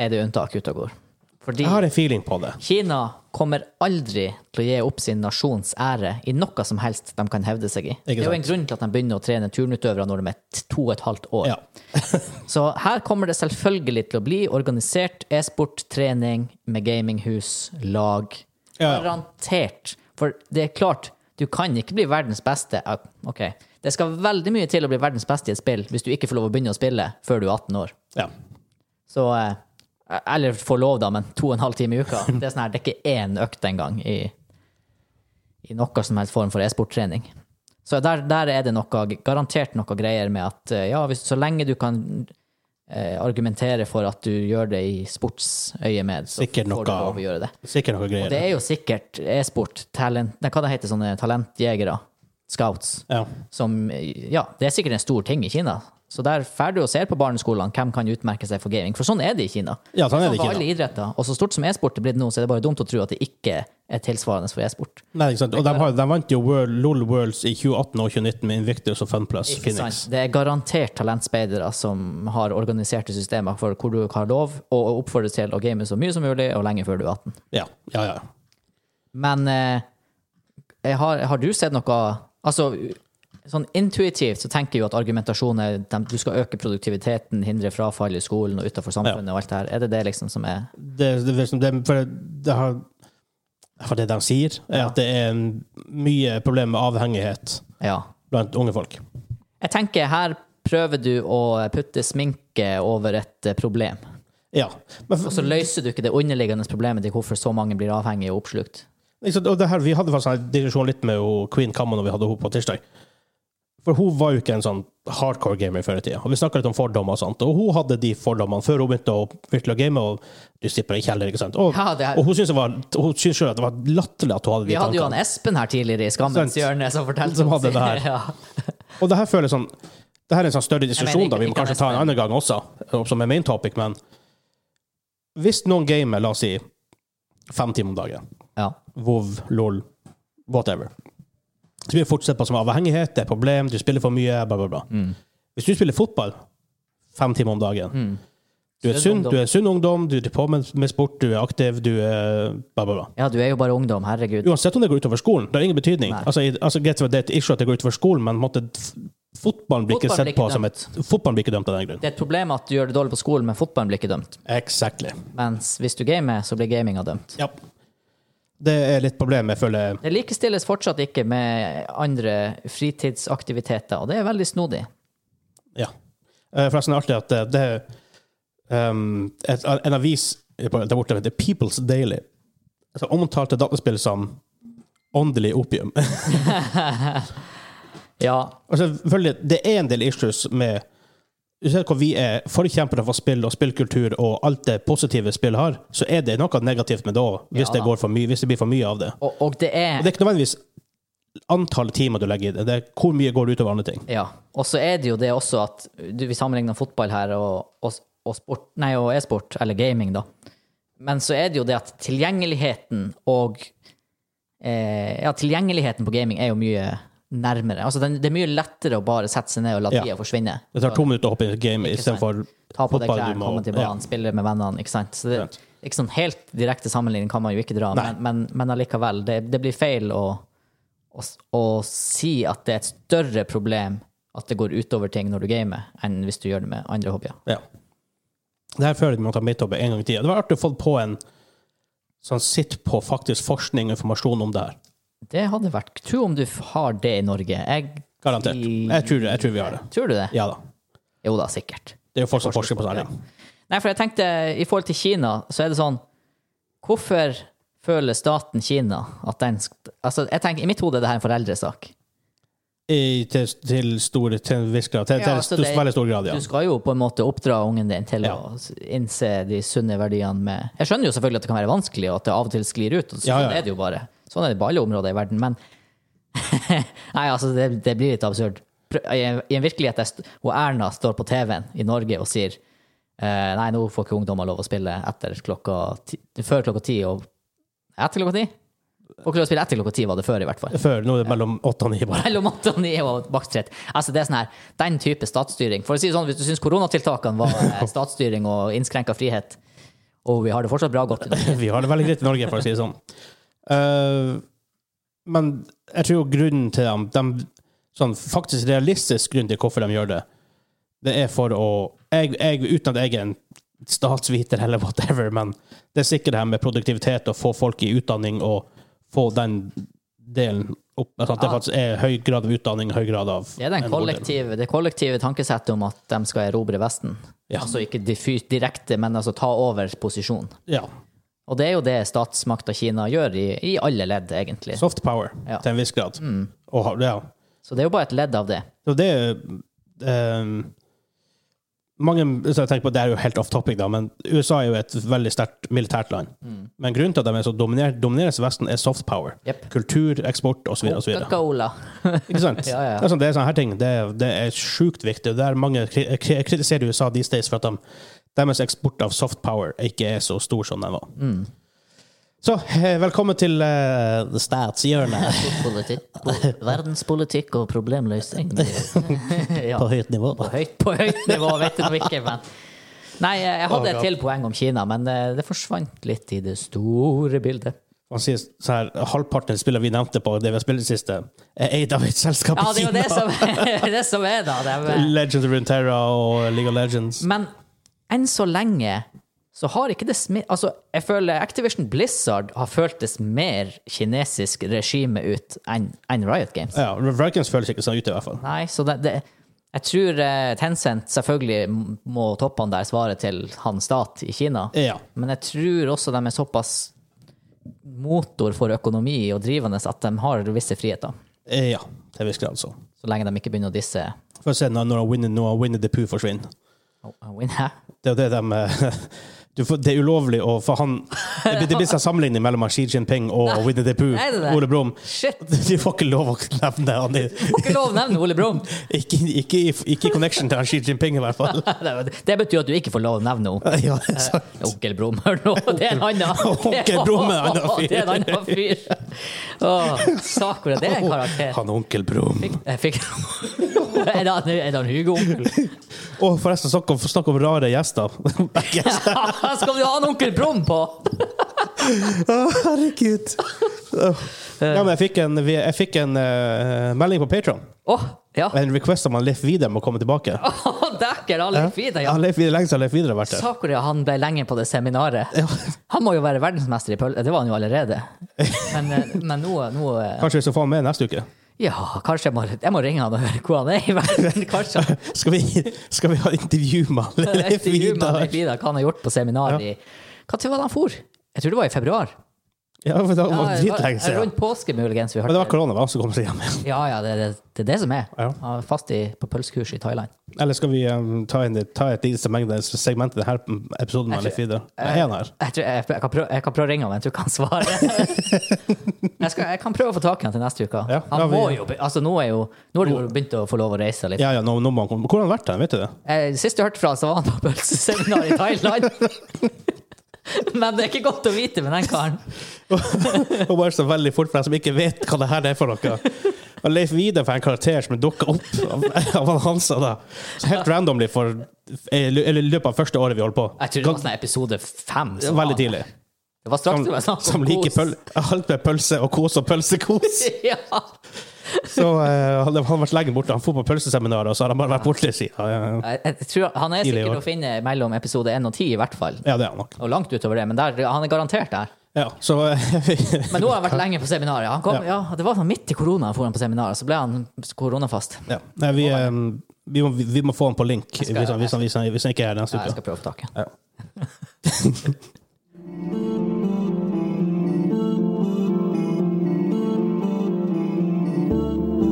er det unntak ute og går. Fordi jeg har en feeling på det. Kina kommer aldri til å gi opp sin nasjons ære i noe som helst de kan hevde seg i. Det er jo en grunn til at de begynner å trene turnutøvere når de er t- to og et halvt år. Ja. Så her kommer det selvfølgelig til å bli organisert e-sport, trening med gaminghus, lag. Ja. Garantert. For det er klart, du kan ikke bli verdens beste. Ja, Ok, det skal veldig mye til å bli verdens beste i et spill hvis du ikke får lov å begynne å spille før du er 18 år. ja. Så eh, Eller får lov, da, men to og en halv time i uka. Det er, sånn her, det er ikke én økt engang i, i noe som helst form for e-sporttrening. Så der, der er det noe, garantert noe greier med at eh, ja, hvis, så lenge du kan eh, argumentere for at du gjør det i sportsøyemed, så Sikkert får du noe- lov å gjøre det. Sikkert noe greier. Det er jo sikkert e-sport, talent Nei, hva det heter sånne talentjegere? Scouts Ja. som Ja, det er sikkert en stor ting i Kina. Så der får du og ser på barneskolene hvem kan utmerke seg for gaming. For sånn er det i Kina. Ja, sånn er det i for Kina. alle idretter. Og så stort som e-sport er blitt nå, så er det bare dumt å tro at det ikke er tilsvarende for e-sport. Nei, ikke sant? Og de, har, de vant jo World, LOL Worlds i 2018 og 2019 med Invictus og Funplus Ikke Phoenix. sant? Det er garantert talentspeidere som har organiserte systemer for hvor du har lov, og oppfordres til å game så mye som mulig, og lenge før du er 18. Ja, ja, ja. Men eh, jeg har, har du sett noe Altså, sånn intuitivt så tenker jeg jo at argumentasjon er dem- du skal øke produktiviteten, hindre frafall i skolen og utenfor samfunnet og alt det her. Er det det liksom som er Det, det, er liksom- det, for det har For det de sier, er at det er mye problem med avhengighet Ja. blant unge folk. Jeg tenker her prøver du å putte sminke over et eh, problem. Ja. Men, Og så løser du ikke det underliggende problemet til hvorfor så mange blir avhengige og oppslukt. Ikke sant, og det her, vi hadde faktisk en diskusjon litt med jo Queen Kamma når vi hadde henne på tirsdag. For hun var jo ikke en sånn hardcore gamer før i tida. Og vi snakka litt om fordommer og sånt. Og hun hadde de fordommene før hun begynte å virkelig å game. Og du slipper ikke heller, ikke sant. Og, Ja, det er- og hun syntes det var- hun syntes selv at det var latterlig at hun hadde de Vi hadde jo han tankene. Espen her tidligere i Skammens Sant. hjørne som fortalte Som om hadde det sin- her. ja. Og det her føles sånn Det her er en sånn større diskusjon, ikke- da. Vi må ikke kanskje ta en nesten. annen gang også, som er main topic, men hvis noen gamer, la oss si, fem timer om dagen <laughs> ja. WoW, LOL, whatever. Så blir det fort sett på som avhengighet, det er problem, du spiller for mye, bla, bla, bla. Mm. Hvis du spiller fotball fem timer om dagen Du er Sunn sunn, Mm. ungdom. du er sunn ungdom, du er på med, med sport, du er aktiv, du er bla, bla, bla. Ja, du er jo bare ungdom, herregud. Uansett om det går utover skolen, det har ingen betydning. Nei. Altså, i, altså, get what, Det er et issue at det går utover skolen, men måtte, f- fotballen blir ikke Fotballen sett blir på ikke som et Fotballen blir ikke dømt av den grunn. Det er et problem at du gjør det dårlig på skolen, men fotballen blir ikke dømt. Exactly. Mens hvis du gamer, så blir gaminga dømt. Ja. Det er litt problem, jeg føler. Det likestilles fortsatt ikke med andre fritidsaktiviteter, og det er veldig snodig. Ja. Eh, Forresten er det artig at det, det um, et, En avis der borte heter People's Daily altså, omtalte dataspill som åndelig opium. <laughs> Ja, Og selvfølgelig, det er en del issues med du ser hvor vi er forkjempere for spill og spillkultur og alt det positive spill har, så er det noe negativt med det òg, hvis Ja det da. går for mye, hvis det blir for mye av det. og, og det Og er det er ikke nødvendigvis antall timer du legger i det, det er hvor mye går det utover andre ting. Ja. Og så er det jo det også at du, vi sammenligner fotball her og, og, og sport Nei, og e-sport, eller gaming, da. Men så er det jo det at tilgjengeligheten og eh, Ja, tilgjengeligheten på gaming er jo mye nærmere. Altså, den, det er mye lettere å bare sette seg ned og la Ja. tida forsvinne. Det tar to minutter å hoppe i et game istedenfor Ta på deg fotball du klærne, må- komme til Ja. banen, spille med vennene. ikke sant? Så det, Sant. ikke sånn Helt direkte sammenligning kan man jo ikke dra, men, men, men allikevel. Det, det blir feil å, å, s- å si at det er et større problem at det går utover ting når du gamer, enn hvis du gjør det med andre hobbyer. Ja. Det her føler jeg vi må ta mitt opp en gang i tida. Det var artig å få på en sånn sitt på faktisk forskning og informasjon om det her. Det hadde vært Tro om du har det i Norge. Jeg Garantert. Jeg tror, jeg tror vi har det. Tror du det? Ja da. Jo da, sikkert. Det er jo folk som forsker på det. her, Ja. Nei, for jeg tenkte i forhold til Kina, så er det sånn Hvorfor føler staten Kina at den sk- Altså, jeg tenker, i mitt hode er det her en foreldresak. I, til, til, stor, til en viss grad. Til, Ja, til altså, st- det- veldig stor grad, ja. Du skal jo på en måte oppdra ungen din til Ja. å s- innse de sunne verdiene med Jeg skjønner jo selvfølgelig at det kan være vanskelig, og at det av og til sklir ut. Og sånn Ja, ja, ja. er det jo bare. Sånn er det på alle områder i verden. Men <laughs> Nei, altså, det, det blir litt absurd. Prø- I en i en virkelighet der st- hun Erna står på TV-en i Norge og sier eh, Nei, nå får ikke ungdommer lov å spille etter klokka ti, før klokka ti og Etter klokka ti? Får ikke lov å spille etter klokka ti, var det før, i hvert fall Før nå er det mellom åtte og ni, bare. mellom 8 og 9 og maks 30. Altså, det er sånn her, den type statsstyring. For å si det sånn, hvis du syns koronatiltakene var <laughs> eh, statsstyring og innskrenka frihet, og vi har det fortsatt bra godt i Norge. <laughs> Vi har det veldig greit i Norge, for å si det sånn. Eh, men jeg tror jo grunnen til dem, dem sånn faktisk realistisk grunn til hvorfor de gjør det, det er for å jeg, jeg, Uten at jeg er en statsviter eller whatever, men det er sikkert det her med produktivitet og få folk i utdanning og få den delen opp at Det Ja. faktisk er høy grad av utdanning, høy grad av Det er den en god del. kollektive, det kollektive tankesettet om at de skal erobre Vesten. Ja. Altså ikke diffu- direkte, men altså ta over posisjon. Ja. Og det er jo det statsmakta Kina gjør i, i alle ledd, egentlig. Soft power, Ja. Mm. til en viss grad. Og, ha- ja. Så det er jo bare et ledd av det. Så det ehm, Mange så jeg tenker på, Det er jo helt off topic, da, men USA er jo et veldig sterkt militært land. Men grunnen til at de er så dominert, domineres i Vesten, er soft power. Yep. Kultur, eksport osv. Ikke Coca-Cola. <laughs> <laughs> sant? Ja, ja. Det er sånn, det er sånne her ting. Det, er- det er sjukt viktig. Det er mange kri kri kritiserer USA these days for at de, deres eksport av soft power ikke er så stor som den var. Så eh, velkommen til eh, statshjørnet Politikk- Verdenspolitikk og problemløsning. <laughs> ja. <laughs> på høyt nivå. på høyt, på høyt nivå, vet du nå ikke, men Nei, jeg hadde Å, et God. til poeng om Kina, men eh, det forsvant litt i det store bildet. Han sier så her, halvparten av spillene vi nevnte på det vi har spilt i det siste, er eid av et selskap Ja, det er <laughs> i jo Kina. det som, det som er, da. Det er, <laughs> Legends of Runeterra og League of Legends. men enn så lenge så har ikke det smi... Altså, jeg føler Activision Blizzard har føltes mer kinesisk regime ut enn enn Riot Games. Ja, Vikings føles ikke sånn ut, i hvert fall. Nei, så det, det Jeg tror eh, Tencent selvfølgelig må toppene der svare til hans stat i Kina. Ja. Men jeg tror også de er såpass motor for økonomi og drivende at de har visse friheter. Eh, ja til en viss grad, så. Så lenge de ikke begynner å disse Får se når, når Winnie når Winnie the Pooh forsvinner. oh, oh, win her. Det er jo det de eh, <laughs> du får, Det er ulovlig å For han <laughs> Det blir, det blir sånn sammenligning mellom han Xi Jinping og Winnie the Pooh. er det det? Ole Brumm. <laughs> Shit! Får Du får ikke lov å nevne han i ikke lov å nevne Ole Brumm! <laughs> ikke, ikke, i- ikke i connection til han Xi Jinping, i hvert fall. <laughs> Det betyr at du ikke får lov å nevne henne. Ja, det er sant. <laughs> Onkel Brumm, hør nå! <laughs> Det er en annen <laughs> Onkel Brumm er en annen fyr. <laughs> Det er en annen fyr. Åh, sak hvor er det en karakter. Han onkel Brumm. Jeg fikk <laughs> Er det han- er det han Hugo-onkel? Og forresten, snakk om, snakk om rare <laughs> gjester. <laughs> Skal du ha en onkel Brumm på?! Herregud. Ja, men jeg fikk en, jeg fikk en eh, melding på Patron. Åh, ja! En request om han Leif Vidar må komme tilbake. <laughs> Åh, Dækker, alle fine, ja! Ja, Leif Vidar, lenge siden Leif Vidar har vært her. Sakuria han ble lenge på det seminaret. Han må jo være verdensmester i pølse. Det var han jo <laughs> allerede. Men, eh, men nå, nå eh, Kanskje vi skal få han med neste uke. Ja, kanskje jeg må, jeg må ringe han og høre hvor han er i verden. Kanskje <laughs> han Skal vi, skal vi ha intervju med han <laughs> Leif intervjuer med Vidar? Leif Vidar hva han har gjort på seminar i Når var det han for? Jeg tror det var i februar. Ja, for det var det var- dritlenge siden. Rundt påske, muligens. Vi Men hørte. det var korona, hva, så kom vi hjem. Ja, ja, det er det, det, er det som er. Ja. Han var Fast i, på pølsekurs i Thailand. Eller skal vi eh, ta, inn, ta et lite segment segment i denne episoden med Leif Vidar? Er han her? Jeg, tror, jeg, jeg, kan prøve, jeg kan prøve å ringe han, men jeg tror ikke han svarer. <laughs> jeg, skal, jeg kan prøve å få tak i han til neste uke. Ja, han ja, vi- må jo, be- altså, nå, er jo, nå har du jo begynt å få lov å reise litt. Ja, ja, nå, nå må han komme. Hvor har han vært hen, vet du det? Eh, Sist jeg hørte fra han, så var han på pølseseminar i Thailand. <laughs> men det er ikke godt å vite med den karen. <laughs> Og bare så veldig fort for dem som ikke vet hva det her er for noe. Og Leif Vidar får en karakter som dukker opp av, av han Hansa. da. Så helt randomly for eh, eller i løpet av første året vi holdt på. Jeg tror det var sånn episode fem. som Veldig var- tidlig. Det var straks det var snakk om Som liker kos. pøl, alt med pølse og kos og pølsekos. <laughs> Ja. Så eh, han han har vært lenge borte. Han får på pølseseminar, og så har han bare vært borte siden. Jeg, jeg tror han er Tidlig i sikkert år. å finne mellom episode én og ti, i hvert fall. Ja, det er han nok. Og langt utover det, men der, han er garantert der. Ja, så <laughs> Men nå har han vært lenge på seminaret. Han kom, Ja. ja. det var sånn midt i korona han for han på seminaret, så ble han koronafast. ja. Nei, vi, eh, vi, må, vi må få han på link skal- hvis han, hvis han, hvis han, hvis han ikke er her neste Ja, jeg uke. skal prøve opptaket. Ja. <laughs>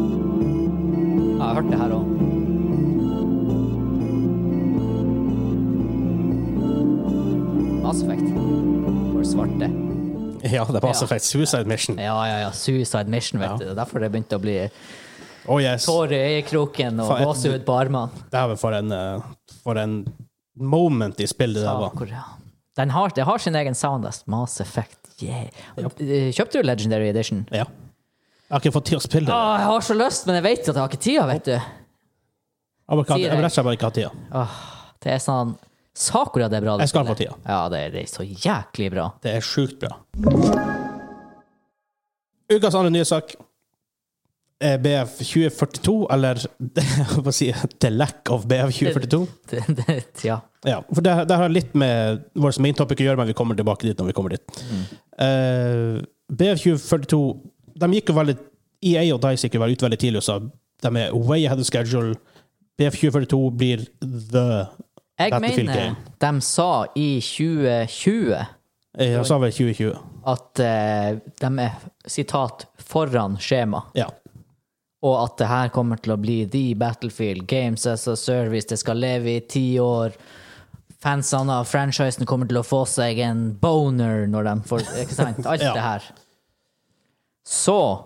Ja, jeg har hørt det her òg. Mass Effect. For svarte. Ja, det passer Ja. faktisk. Suicide Mission. Ja, ja, ja. Suicide Mission, vet Ja. du. Det er derfor det begynte å bli Oh yes. tårer i øyekroken og Faen, jeg- gåsehud på armene. Det er vel for en, eh, for en moment i spillet det der Ja, var. hvor- ja. Den har, det har sin egen sound. ass. Mass Effect, yeah. Eh, Kjøpte du Legendary Edition? Ja. Jeg har ikke fått tid å spille det. Åh, jeg har så lyst, men jeg vet jo at jeg har ikke tida, vet du. Jeg har ikke sier hatt- jeg har jeg. rett og slett bare ikke hatt tida. Det er sånn Sakura, det er bra. det Jeg skal spillet. få tida. Ja, det er, det er så jæklig bra. <laughs> Det er sjukt bra. Ukas andre nye sak er BF 2042, eller <laughs> hva sier jeg, The Lack of BF 2042. Det, det, ja. Ja, for det, det har litt med vårt main topic å gjøre, men vi kommer tilbake dit når vi kommer dit. Eh, BF 2042 de gikk jo veldig, EA og Dice gikk jo veldig ut veldig tidlig og sa de er way ahead of schedule. BF 2042 blir the Jeg Battlefield mener game. de sa i 2020 eh, Jeg sa vel 2020. at eh, de er sitat foran skjema, Ja. og at det her kommer til å bli the Battlefield Games as a Service, det skal leve i ti år. Fansene av franchisen kommer til å få seg en boner når de får Ikke sant? Alt Ja. det her. Så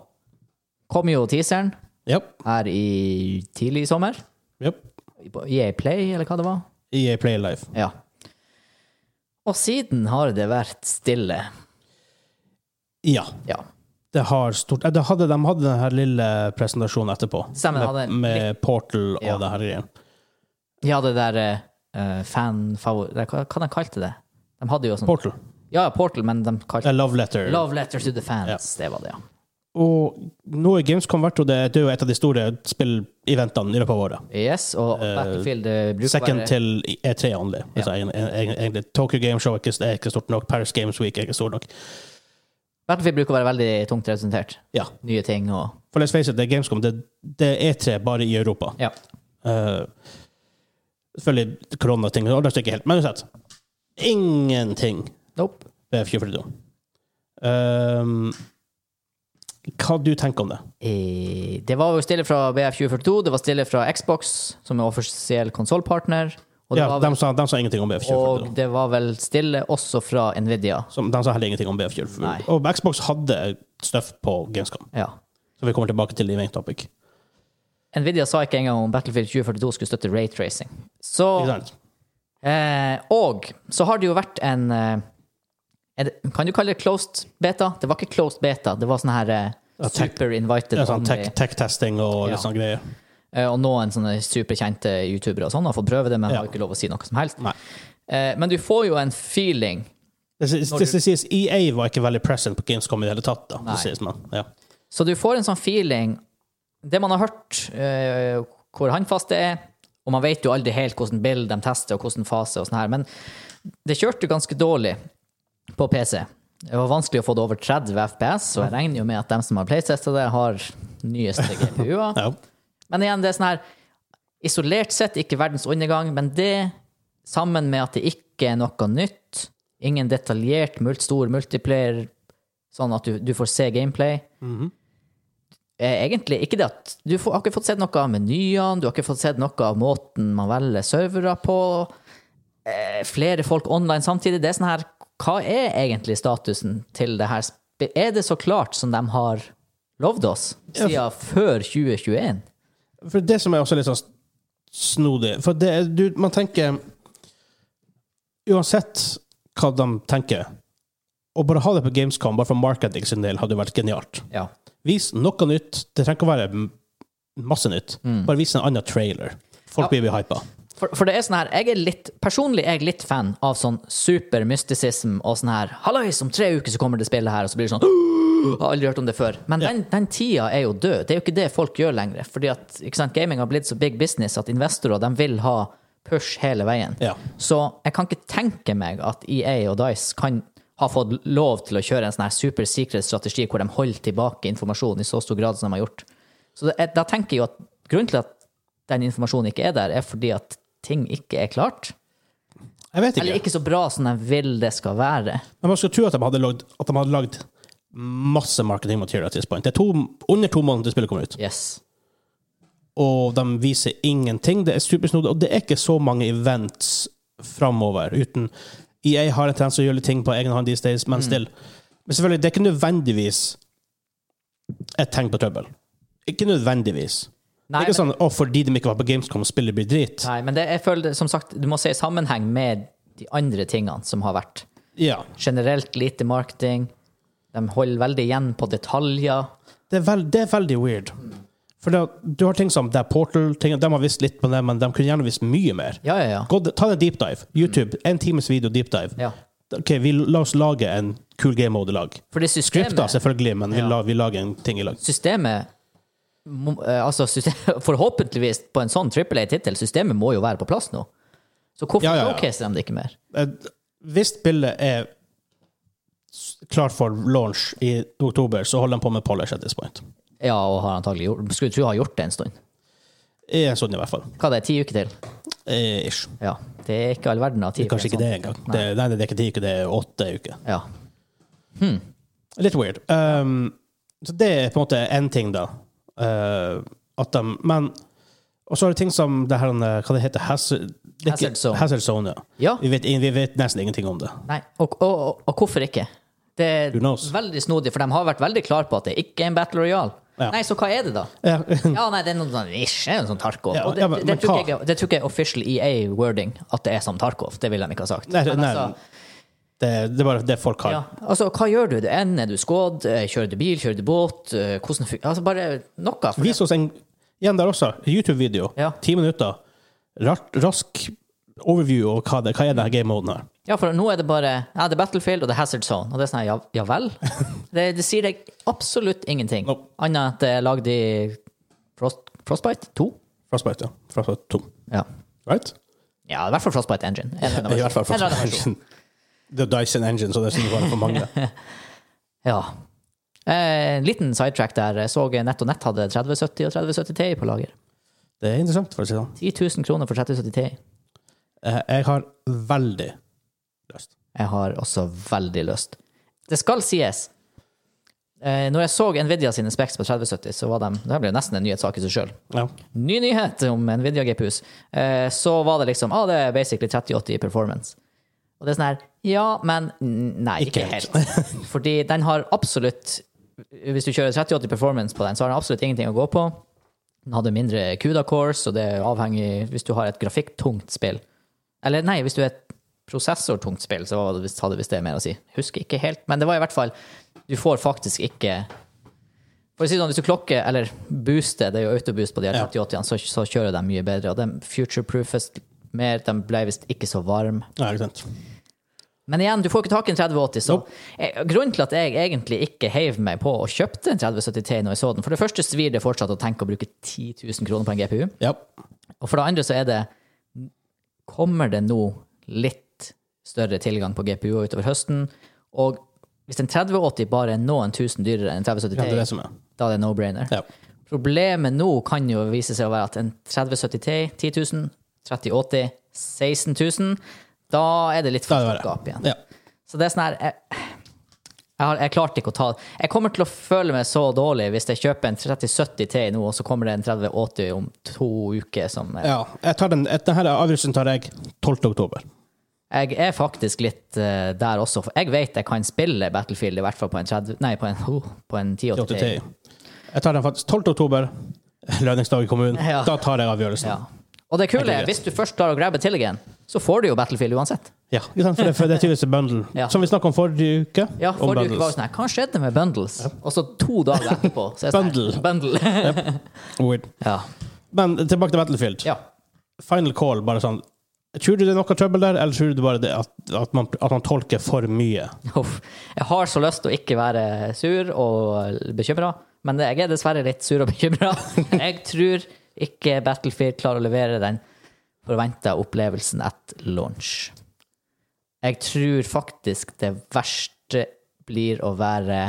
kom jo teaseren Yep. her i tidlig sommer. Yep. På EA Play, eller hva det var. EA Play Life. Ja. Og siden har det vært stille. Ja. Ja. Det har stort eh, det hadde, De hadde den her lille presentasjonen etterpå, Stemmer, det hadde med, en med Portal og Ja. det her greien. Ja, det der uh, fanfavor... Hva, hva de kalte det? De hadde jo sånn Portal. Ja, ja, Portal, men de kalte Eh, Love Letter. Love Letter to the Fans. Det var det, ja. Og nå er Gamescom vært, og det, det er jo et av de store spilleventene i løpet av året. Yes, og Battlefield eh, bruker Second å være til E3 only. Altså, egen- egen- egentlig, Tokyo Game Show er ikke, er ikke stort nok. Paris Games Week er ikke stort nok. Battlefield bruker å være veldig tungt representert. Ja. Nye ting og For let's face it, det er Gamescom. Det, det er E3 bare i Europa. Ja. Eh, selvfølgelig koronating, og det er ikke helt. Men uansett, ingenting Nope. Det er 24 da. Ehm, hva du tenker om det? Eh, Det var jo stille fra BF2042, det var stille fra Xbox, som er offisiell konsollpartner. Og, det Ja, var de, vel- sa, de sa ingenting om BF24. og det var vel stille også fra Nvidia. Som, de sa heller ingenting om BF24. Nei. Og Xbox hadde stuff på Gamescom, Ja. så vi kommer tilbake til det i main topic. Nvidia sa ikke engang om Battlefield 2042 skulle støtte raytracing. Så, Ikke sant? eh, og så har det jo vært en, eh, en Kan du kalle det closed beta? Det var ikke closed beta, det var sånn her eh, Ja, tech- super invited Det er sånn only. tech- tech-testing og Ja. litt sånne greier. Eh, og noen sånne superkjente youtubere og sånn har fått prøve det, men Ja. har ikke lov å si noe som helst. Nei. Eh, men du får jo en feeling. Det, sies- det, sies EA var ikke veldig present på Gamescom i det hele tatt. da. Nei. Det sies man. Ja. Så du får en sånn feeling Det man har hørt, eh, hvor håndfast det er Og man vet jo aldri helt hvordan bild de tester, og hvordan fase og sånn her. Men det kjørte ganske dårlig på PC. Det var vanskelig å få det over 30 FPS, og jeg regner jo med at dem som har playtesta det, har nyeste GPU-er. Ja. Men igjen, det er sånn her Isolert sett ikke verdens undergang, men det, sammen med at det ikke er noe nytt, ingen detaljert mult, stor multiplayer, sånn at du, du får se gameplay Eh, Egentlig ikke det at Du får, har ikke fått sett noe av menyene, du har ikke fått sett noe av måten man velger servere på. Eh, flere folk online samtidig. Det er sånn her Hva er egentlig statusen til det her? sp- Er det så klart som de har lovd oss siden før 2021? For det som er også litt sånn snodig For det, er- du, man tenker Uansett hva de tenker, å bare ha det på Gamescom bare for marketing sin del hadde jo vært genialt. Ja. Vis noe nytt. Det trenger ikke å være m- masse nytt. Mm. Bare vis en annen trailer. Folk blir hypa. For, for det er sånn her, jeg er litt, personlig er jeg litt fan av sånn super mysticism og sånn her Hallais, om tre uker så kommer det spillet her, og så blir det sånn «Åh, Jeg har aldri hørt om det før. Men den, den tida er jo død. Det er jo ikke det folk gjør lenger. Fordi at ikke sant, gaming har blitt så big business at investorer de vil ha push hele veien. Ja. Så jeg kan ikke tenke meg at EA E og Dice kan har fått lov til å kjøre en sånn her super secret strategi hvor de holder tilbake informasjon i så stor grad som de har gjort. Så det, da tenker jeg jo at grunnen til at den informasjonen ikke er der, er fordi at ting ikke er klart. Jeg vet Eller ikke. ikke så bra som de vil det skal være. Men man skulle tro at de hadde lagd, at de hadde lagd masse marketing material til this point. Det er to, under to måneder til spillet kommer ut, Yes. og de viser ingenting. Det er supersnodig, og det er ikke så mange events framover uten EA har en tendens til å gjøre litt ting på egen hånd these days, Mm. men still. Men selvfølgelig, det er ikke nødvendigvis et tegn på trøbbel. Ikke nødvendigvis. Nei, det er men- ikke sånn å, fordi de ikke var på Gamescom, spillet blir drit. Nei, men det, jeg føler, det- som sagt, du må se i sammenheng med de andre tingene som har vært. Ja. Generelt lite marketing. De holder veldig igjen på detaljer. Det er, vel- det er veldig weird. For da, du har ting som det er Portal, ting, de har visst litt på det, men de kunne gjerne visst mye mer. Ja, ja, ja. Gå, ta en deep dive. YouTube, en times video deep dive. ja. Ok, vi, La oss lage en kul game mode i lag. Fordi Krypta, systemet, selvfølgelig, men vi, Ja. la, vi lager en ting i lag. systemet må- eh, altså systemet, <laughs> Forhåpentligvis på en sånn trippel A-tittel, systemet må jo være på plass nå. Så hvorfor Ja, ja, ja. showcaser de det ikke mer? Eh, Hvis spillet er s- klart for launch i oktober, så holder de på med polish at this point. Ja, og har antagelig gjort Skulle tro har gjort det en stund. I en stund, sånn i hvert fall. Hva det er ti uker til? Eh, ish. Ja. Det er ikke sånn. all verden av tid. Kanskje ikke det engang. Det, nei, det er ikke ti uker, det er åtte uker. sånn. Ja. Litt weird. Um, så det er på en måte én ting, da. Uh, at de, men Og så er det ting som det her, uh, hva det heter Hazard, det er ikke- Hazard Zone. Hazard Zone, ja. Ja. Vi, vet, ing- vi vet nesten ingenting om det. <laughs> Nei, og, og, og, og hvorfor ikke? Det er Who knows? veldig snodig, for de har vært veldig klare på at det ikke er en Battle Royale. Ja. Nei, så hva er det, <laughs> da? Ja. Ja, nei, det er noe sånn ish, det er noe sånn Tarkov. Ja, og det, ja, men- det, men tror hva? ikke jeg, det tror ikke jeg er official EA-wording at det er som Tarkov. Det ville de ikke ha sagt. Nei, Men nei, altså, det, det er bare det folk har. ja, altså, hva gjør du? Det ender er du skådd? eh, Kjører du bil? Kjører du båt? eh, Hvordan fun- Altså, bare noe. For Vis oss en igjen der også. YouTube-video. Ja. Ti minutter. Rart, rask overview over hva, det, hva er denne game-moden her. Ja, for nå er det bare ja, det er Battlefield og det er Hazard Zone. Og det er sånn, ja, ja <laughs> vel? Det, det sier deg absolutt ingenting. Nope. Annet enn at det er lagd i Frost, Frostbite 2. Frostbite, ja. Frostbite 2. Ja. Right? ja, i hvert fall Frostbite Engine. En eller annen <laughs> I versjon. hvert fall En eller Frostbite annen versjon. Engine. Det er Dyson Engine, så det er sikkert bare for mange. Ja. Eh, en liten sidetrack der. Jeg så Nett og Nett hadde 3070 og 3070 Ti på lager. Det er interessant, for å si det sånn. 10 000 kroner for 3070 Ti. Eh, Jeg har veldig lyst. Jeg har også veldig lyst. Det skal sies. Eh, når jeg så Nvidia sine specs på 3070, så var de Det ble nesten en nyhetssak i seg sjøl. Ja. Ny nyhet om Nvidia GPUs. Eh, så var det liksom ah, det er basically 3080 i performance. Og det er sånn her Ja, men n- Nei, ikke, Ikke helt. helt. <laughs> Fordi den har absolutt Hvis du kjører 3080 performance på den, så har den absolutt ingenting å gå på. Den hadde mindre CUDA-cores, og det er avhengig Hvis du har et grafikktungt spill Eller nei, hvis du er et prosessortungt spill, så var det visst- hadde visst det mer å si. Husker ikke helt, men det var i hvert fall Du får faktisk ikke for å si det sånn, Hvis du klokker eller booster, det er jo autoboost på de her Ja. 3080-ene, så, så kjører de mye bedre. Og de future-proofes mer. De ble visst ikke så varme. Ja, ikke sant. Men igjen, du får ikke tak i en 3080, så eh, Grunnen til at jeg egentlig ikke heiv meg på og kjøpte en 3070 Ti når jeg så den For det første svir det fortsatt å tenke å bruke 10 000 kroner på en GPU. Ja. Og for det andre så er det Kommer det nå litt større tilgang på GPU utover høsten? Og hvis en 3080 bare er noen tusen dyrere enn en Det er 3070 det Ti, som er. da er det no-brainer. Ja. Problemet nå kan jo vise seg å være at en 3070 Ti 10 000, 3080 16 000 Da er det litt Da er for stort det verre. gap igjen. Ja. Så det er sånn her jeg, jeg, har, jeg klarte ikke å ta Jeg kommer til å føle meg så dårlig hvis jeg kjøper en 3070 Ti nå, og så kommer det en 3080 om to uker som jeg, ja. Jeg tar den, denne avgjørelsen tar jeg 12. oktober. jeg er faktisk litt eh, der også, for jeg vet jeg kan spille Battlefield, i hvert fall på en 30 Nei, på en, <laughs> oh, på en 1080 Ti. 83. Jeg tar den faktisk 12. oktober, <laughs> lønningsdag i kommunen. Ja. Da tar jeg avgjørelsen. Ja. Og det kule Jeg er, gleder. hvis du først klarer å grabbe til igjen, så får du jo Battlefield uansett. Ja, ikke sant? For det, for det er tydeligvis en bundle. Ja. Som vi snakket om forrige uke. Ja, om forrige uke var det bundles. sånn her, hva skjedde med bundles? Og så to dager etterpå, så er det sånn her, <laughs> Bundle. Weird. ja. Men tilbake til Battlefield. ja. Final call, bare sånn. Tror du det er noe trøbbel der, eller tror du det bare det at, at, man, at man tolker for mye? Uff. Jeg har så lyst til å ikke være sur og bekymra, men jeg er dessverre litt sur og bekymra. Jeg tror ikke Battlefield klarer å levere den forventa opplevelsen at launch. Jeg tror faktisk det verste blir å være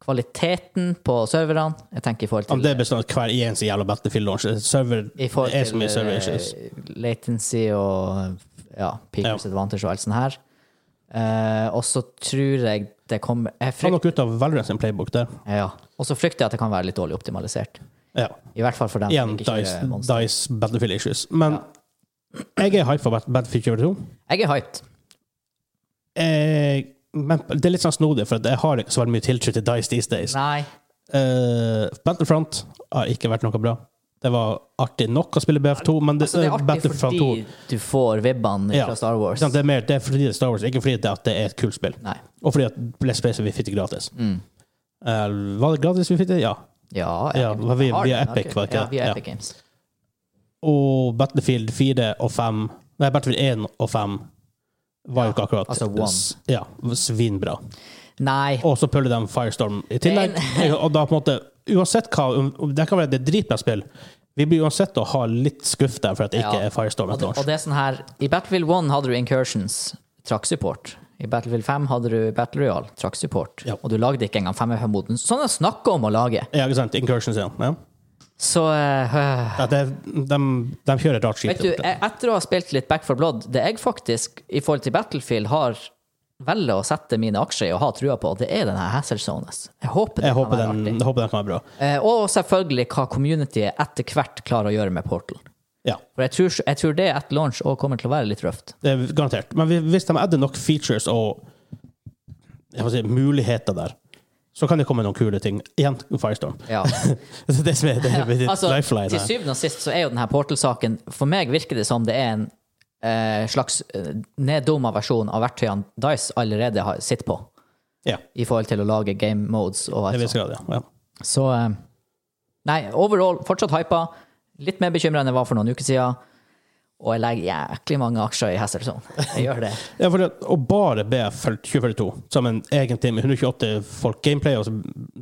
kvaliteten på serverne. Jeg tenker i forhold Om til, det består av hver eneste jævla Battlefield-launch. Server i forhold er så mye til server issues. eh, latency og ja, peak Ja. disadvantage og alt sånt her. Eh, og så tror jeg det kommer jeg Ta frykt, nok ut av Valorant sin playbook der. ja. Og så frykter jeg at det kan være litt dårlig optimalisert. Ja. I hvert fall for dem Igjen kjører Dice, Monster. Dice Battlefield issues. Men jeg er hype for Bat- Battlefield 22. Jeg er hyped. Eh, men det er litt sånn snodig, for at jeg har ikke så veldig mye tiltro til Dice these days. Nei. Eh, Battlefront har ikke vært noe bra. Det var artig nok å spille BF2, men det, Altså, det er artig Battlefront 2 fordi du får vibbene Ja. fra Star ikke Wars. sant, det, er mer, det er fordi det er Star Wars, ikke fordi det, er at det er et kult spill. Nei. Og fordi at Let's Place vi fikk det gratis. Mm. Eh, var det gratis vi fikk det? Ja. Ja, Ja, jeg- var vi- jeg har vi den, er har du Epic, var det ikke Ja, det? vi er Ja. Epic Games. Og Battlefield 4 og 5 Nei, Battlefield 1 og 5 var jo ikke akkurat altså one. s- ja, svinbra. Nei. Og så puller de Firestorm i tillegg. <laughs> Og da på en måte Uansett hva om- om Det kan være det er dritbra spill. Vi blir uansett å ha litt skuff der for at det ikke Ja. er Firestorm Og et det, og launch. det er sånn her I Battlefield 1 hadde du Incursions, trakk support. I Battlefield 5 hadde du Battle Royale, trakk support. Ja. Og du lagde ikke engang 5F-moden. Sånn er det snakk om å lage. Ja, ikke sant? Incursions igjen. Ja. Så eh, Ja, det, de, de kjører et rart skit. Vet du, jeg, etter å ha spilt litt Back for Blood, det jeg faktisk, i forhold til Battlefield, har velger å sette mine aksjer i og ha trua på, det er denne Hassel Zones. Jeg håper det jeg, håper kan være den, artig. jeg håper den kan være bra. Eh, og selvfølgelig hva communityet etter hvert klarer å gjøre med Portal. Ja, For jeg tror, jeg tror det etter launch òg kommer til å være litt røft. det er Eh, garantert. Men vi- hvis de adder nok features og jeg får si, muligheter der, så kan det komme noen kule ting. Igjen Firestorm. <laughs> Ja. <laughs> Det er det som er det, er ditt Altså, lifeline. til her. syvende og sist så er jo denne Portal-saken For meg virker det som det er en eh, slags eh, neddumma versjon av verktøyene Dice allerede har, sitter på, Ja, i forhold til å lage game modes og til alt en viss sånt. grad, ja. ja. Så eh, Nei, overall fortsatt hypa. Litt mer bekymra enn jeg var for noen uker siden. Og jeg legger jæklig mange aksjer i Hasselson. Jeg gjør det. <laughs> ja for det, å bare be for 2042 som en egen team med 128 folk, gameplay og så-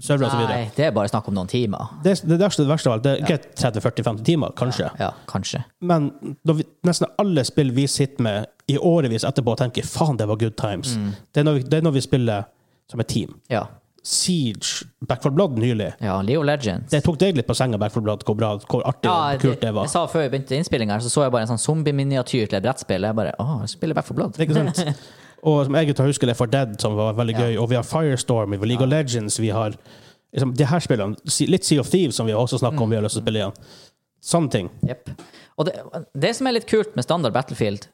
server og så Nei, videre det er bare snakk om noen timer. det, det verste det verste av alt, det er greit 30-40-50 timer, kanskje, Ja, kanskje. men når vi, nesten alle spill vi sitter med i årevis etterpå og tenker faen, det var good times, Mm. det, er når vi, det er når vi spiller som et team. Ja. Siege, Back 4 Blood nylig, ja Leo Legends. det tok deg litt på senga, Back 4 Blood, hvor, bra, hvor artig Ja, og kult det var. Jeg sa før vi begynte innspillinga, så så jeg bare en sånn zombieminiatyr til et brettspill. Jeg bare Å, jeg spiller Back for Blood. Ikke <laughs> sant? Og som jeg tar husker Left 4 Dead, som var veldig gøy, og vi har Firestorm, vi har League of Legends, vi har liksom, de her spillene, Si- litt Sea of Thieves, som vi også snakker om vi har lyst til å spille igjen. Sånne ting. Jep. Og det, det som er litt kult med standard Battlefield,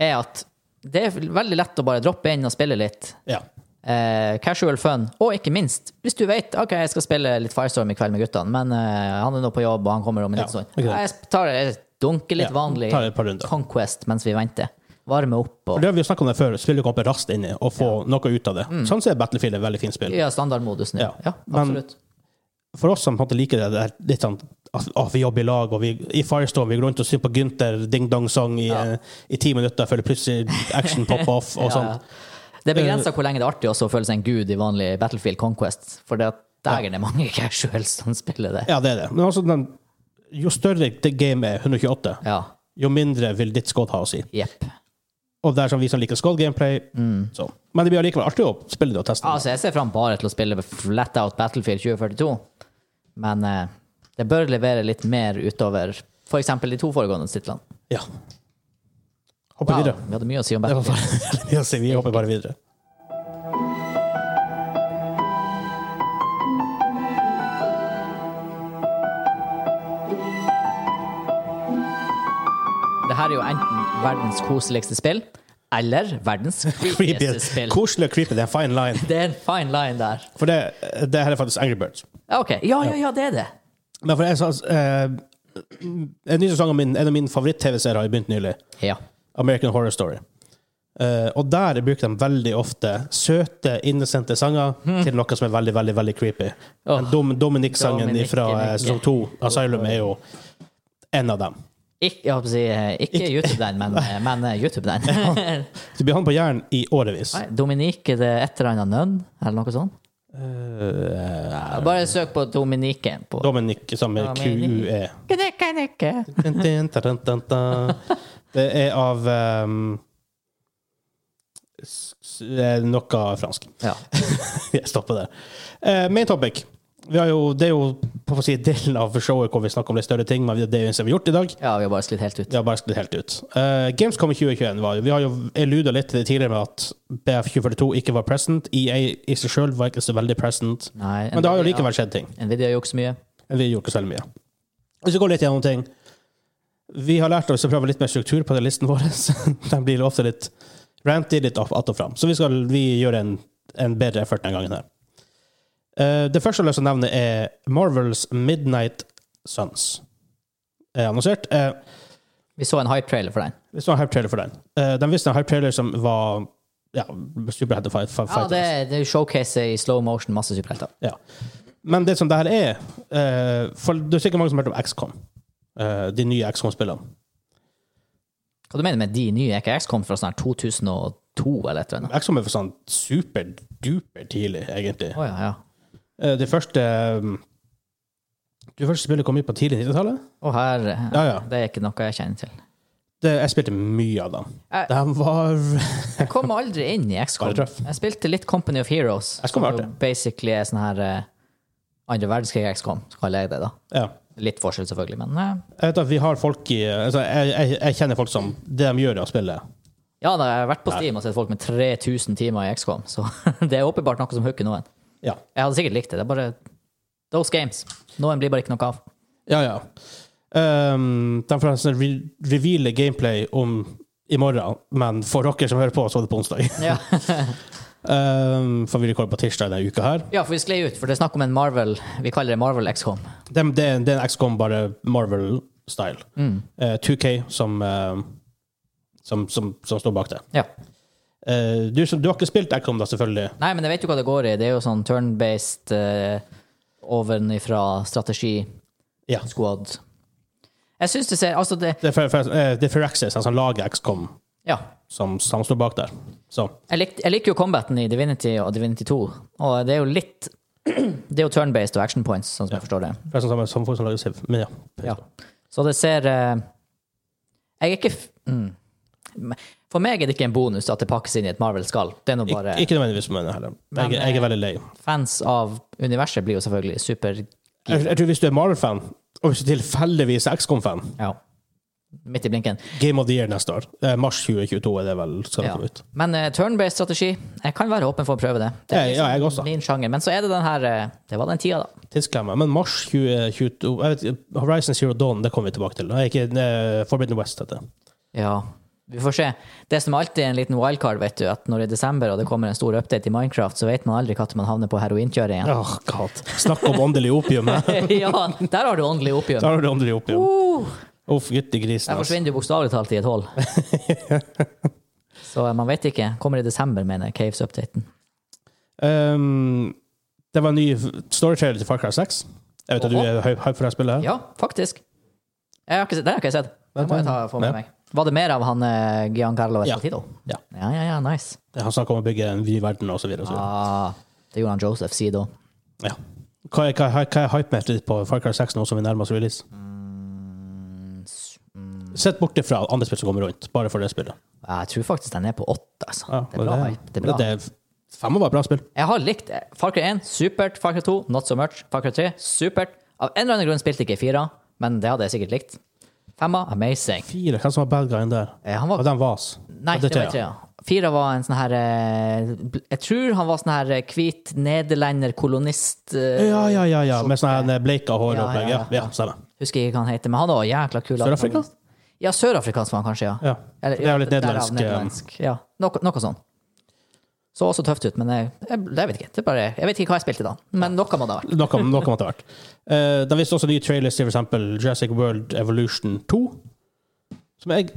er at det er veldig lett å bare droppe inn og spille litt. Ja. Eh, casual fun, og ikke minst, hvis du vet OK, jeg skal spille litt Firestorm i kveld med guttene, men eh, han er nå på jobb, og han kommer om en Ja, liten stund. ikke sant. Jeg tar jeg dunker litt Ja, vanlig tar et par runder. Conquest mens vi venter. Varme opp For og det har vi jo snakket om det før, spille kamper raskt inni, og få noe ut av det. Sånn ser Battlefield er et veldig fint spill. Ja, standardmodusen. Ja, Ja, ja men- absolutt. For oss som på en måte liker det, det er litt sånn at at vi jobber i lag, og vi, i Firestorm vi går rundt og synger på Gunther Ding Dong Song i, Ja. eh, i ti minutter før det plutselig action popper <laughs> off og sånn. Ja, sånt. ja. Det er begrensa hvor lenge det er artig også å føle seg en gud i vanlig Battlefield Conquest. For det at dægen er mange <laughs> casuals som spiller det. Ja, det er det. Men altså, den, jo større det game er, 128, Ja. jo mindre vil ditt skudd ha å si. Jepp. Og det er sånn vi som liker skudd gameplay. Mm. Så. Men det blir allikevel artig å spille det og teste. det. Altså, jeg ser fram bare til å spille flat out Battlefield 2042, men eh, det bør levere litt mer utover f.eks. de to foregående titlene. Ja. Hopper Wow, videre. vi hadde mye å si om Det var Battlefield. bare, <laughs> Ja, se, vi hopper bare videre. Det her er jo enten verdens koseligste spill, eller verdens Creepy. creepieste spill. Koselig og creepy. Det er en fine line. Det er en fine line der. For det, det her er faktisk Angry Birds. Ja, OK. Ja, ja, ja, det er det. Men for jeg sa eh, En ny sesong av min, en av mine favoritt-TV-serier har begynt nylig. Ja. American Horror Story. Eh, og der bruker de veldig ofte søte, innocente sanger til noe som er veldig, veldig veldig creepy. Hmm. Åh. Den Dom, Dominic-sangen Dominic, fra eh, Dominic. sesong to, Asylum, er jo en av dem. Ikke, jeg holdt på å si, eh, ikke YouTube den, men, men eh, YouTube den. Så blir han på jern i årevis. Nei, Dominique, er det et eller annet nønn? Eller noe sånt? Eh, Bare søk på Dominique. På. Dominic sammen med QUE. Dominic. Knikke, knikke. Det er av um, ehm, s- s- eh, noe fransk. Ja. <laughs> Jeg stopper der. Eh, main topic. Vi har jo, det er jo på å si, delen av showet hvor vi snakker om litt større ting, men det er jo det eneste vi har gjort i dag. ja, vi har bare sklidd helt ut. Det har bare sklidd helt ut. Eh, Gamescom i 2021 var jo Vi har jo eluda litt til det tidligere med at BF2042 ikke var present. EA i seg sjøl var ikke så veldig present. Nei, Men det har jo Nvidia- likevel skjedd ting. Nvidia gjør ikke så mye. Vi gjorde ikke så veldig mye. Hvis vi går litt gjennom ting Vi har lært oss å prøve litt mer struktur på den listen vår. <laughs> Den blir ofte litt ranty, litt opp- att og fram. Så vi skal vi gjøre en, en bedre effort denne gangen her. Eh, det første jeg har lyst til å nevne, er Marvels Midnight Suns. Er annonsert. Eh, Vi så en hype trailer for den. vi så en hype trailer for den. Eh, de viste en hype trailer som var ja, Superhead Fight. fight Ja, det, det showcaser i slow motion masse superhelter. Ja. Men det som det her er eh, For det er sikkert mange som har hørt om XCOM. eh, de nye XCOM-spillene. Hva du mener med de nye? Er ikke XCOM fra sånn her 2002 eller et eller annet? XCOM er for sånn super-duper tidlig, egentlig. Å ja, ja. Eh, det første um, Det første spillet kom ut på tidlig 90-tallet. Å her, Ja, ja. Det er ikke noe jeg kjenner <laughs> til. Det- Jeg spilte mye av dem. Jeg- De var Jeg kom aldri inn i XCOM. Bare trøff. Jeg spilte litt Company of Heroes. XCOM er som jo Basically er sånn her eh, andre verdenskrig XCOM, så kaller jeg det, da. Ja. Litt forskjell, selvfølgelig, men eh, Jeg vet at vi har folk i altså, jeg, jeg, jeg kjenner folk som Det de gjør, er å spille. Ja, da, jeg har vært på Steam og sett folk med 3000 timer i XCOM, så <laughs> det er åpenbart noe som hooker noen. Ja. Jeg hadde sikkert likt det. Det er bare those games. Noen blir bare ikke noe av. Ja, ja. Um, de får nesten re reveale gameplay om i morgen, men for dere som hører på, så er det på onsdag. Ja. Um, for vi rekorder på tirsdag denne uka her. ja, for vi sklei ut, for det er snakk om en Marvel Vi kaller det Marvel XCOM. Det, det, er- det er en XCOM, bare Marvel-style. Mm. Eh, 2K som, eh, som, som, som står bak det. Ja. Eh, du, som- du har ikke spilt XCOM, da, selvfølgelig? Nei, men jeg vet jo hva det går i. Det er jo sånn turn-based eh, ovenifra strategi, Ja. squad. Jeg syns det ser Altså, det Det er, for, for, eh, det er Firaxis, han som lager XCOM, Ja. som, som står bak der. Så Jeg, likte- jeg liker jo combaten i Divinity og Divinity 2, og det er jo litt <clears throat> Det er jo turn-based og action points, sånn som jeg forstår det. forresten, som, som folk som lager Siv. Men ja. Ja. Så det ser eh, Jeg er ikke f mm. For meg er det ikke en bonus at det pakkes inn i et Marvel-skall. Det er nå bare Ik ikke nødvendigvis for meg heller. Men, eh, Jeg, jeg er veldig lei. Fans av universet blir jo selvfølgelig super Jeg, jeg tror hvis du er Marvel-fan, og hvis du tilfeldigvis er XCOM-fan, Ja. Midt i blinken. Game of the Year neste år. Eh, mars 2022 er det vel skal det Ja. komme ut. Men eh, turn-based strategi Jeg kan være åpen for å prøve det. Det sånn Ja, ja, jeg også. min sjanger. Men så er det den her eh, Det var den tida, da. Tidsklemma. Men mars 2022 jeg vet, ikke, Horizon Zero Dawn, det kommer vi tilbake til. Nei, ikke eh, Forbidden West, heter det. Ja. Vi får se. Det som alltid er en liten wildcard, vet du, at når det er desember og det kommer en stor update i Minecraft, så vet man aldri når man havner på heroinkjøret igjen. Åh, god. Snakk om åndelig <laughs> opium. her. ja, der har du åndelig opium. Der har du åndelig opium. Uh. Uff, gutti grisen. Der Altså. forsvinner du bokstavelig talt i et <laughs> hull. Så eh, man vet ikke. Kommer i desember, mener jeg, Caves-updaten. Um, det var en ny storytrailer til Far Cry 6. Jeg vet at du Oho. er hype hype for det spillet. her. Ja, faktisk. Jeg har ikke sett, den har ikke jeg sett. Den må jeg ta få med Nei. meg. Var det mer av han eh, Giancarlo Esposito? Ja. ja, ja, ja, nice. Han snakker om å bygge en vid verden og så videre. og så videre. Ah, det gjorde han Joseph Sido. Ja. Hva er, hva er, hva er hypemeteret på Far Cry 6 nå som vi nærmer oss release? Mm. Sett bort det fra andre spill som kommer rundt, bare for det spillet. Jeg tror faktisk den er på åtte. Altså. Ja, det er bra. hype. Det er bra. men det er- Fem var et bra spill. Jeg har likt det. Far Cry 1, supert. Far Cry 2, not so much. Far Cry 3, supert. Av en eller annen grunn spilte jeg ikke fire, men det hadde jeg sikkert likt. Femma, amazing. Fire, hvem som var bad guyen der? Eh, Han var Og den Vas. Nei, Og det var trea. ikke det. ja. Fira var en sånn her eh, bl- Jeg tror han var sånn her eh, hvit nederlender-kolonist eh, Ja, ja, ja, ja. Med sånn her bleika hår og Ja, opplegg. ja, Ja, ja, stemmer. Husker ikke hva han heter, men han var jækla kul. Sør-Afrika? Ja, sørafrikansk var han kanskje, ja. Ja. Eller, det er jo litt derav nederlandsk, eh, nederlandsk. Ja, noe, noe sånn. Så også tøft ut, men jeg, jeg, jeg vet ikke. Det er bare, jeg vet ikke hva jeg spilte da, men noe må det ha vært. eh, Noe, noe måtte ha vært. Uh, det viste også nye trailers til for eksempel Jurassic World Evolution 2. Som jeg,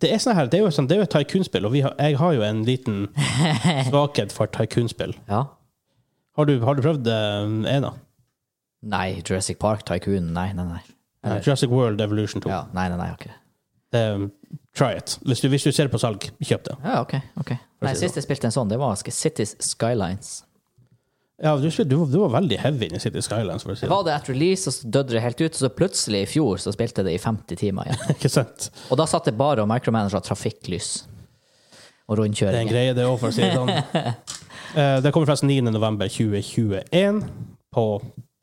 det er sånn her, det er jo, sånn, det er jo et tycoon-spill, og vi har, jeg har jo en liten <laughs> svakhet for tycoon-spill. Ja. Har du, har du prøvd eh, ena? Nei, Jurassic Park, Tycoon, nei, nei, nei. Eller- Jurassic World Evolution 2. Ja, nei, nei, nei, ok. Eh, try it. Hvis du, hvis du ser det på salg, kjøp det. Ja, ok, ok. Nei, sist jeg spilte en sånn, det var Cities Skylines. Ja, du, spil- du, var- du var veldig heavy inn i City Skylines, for å si Det det. var det etter release, og så døde det helt ut. Og så plutselig i fjor så <laughs> spilte jeg det i 50 timer igjen. <laughs> Ikke sant? Og da satt det bare og micromanagera trafikklys. og Det er en rundkjøringer. greie, det òg, for å si det <laughs> sånn. Eh, det kommer forresten 9.11.2021 på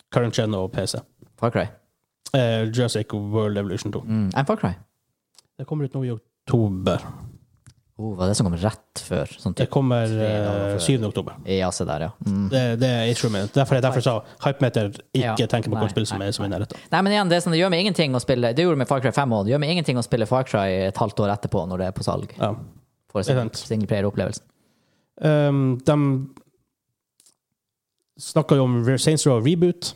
current gen og PC. Far Cry. Eh, Jurassic World Evolution 2. Mm. En Far Cry. Det kommer ut nå i oktober. Oh, var det som kom rett før? Sånn Det typ. kommer Tre dager før. eh, 7. oktober. Ja, se der, ja. Mm. Det, det er instrument. Derfor, derfor sa Hypemeter ikke Ja. tenker på Nei, hvilket spill som er som er i nærheten. Nei, men igjen, det, er sånn, det gjør meg ingenting å spille Det gjorde meg Far Cry 5 år. Det gjør meg ingenting å spille Far Cry et halvt år etterpå, når det er på salg. Ja. For Det er sant. singleplayer-opplevelsen. Um, de snakka jo om Saints Row Reboot.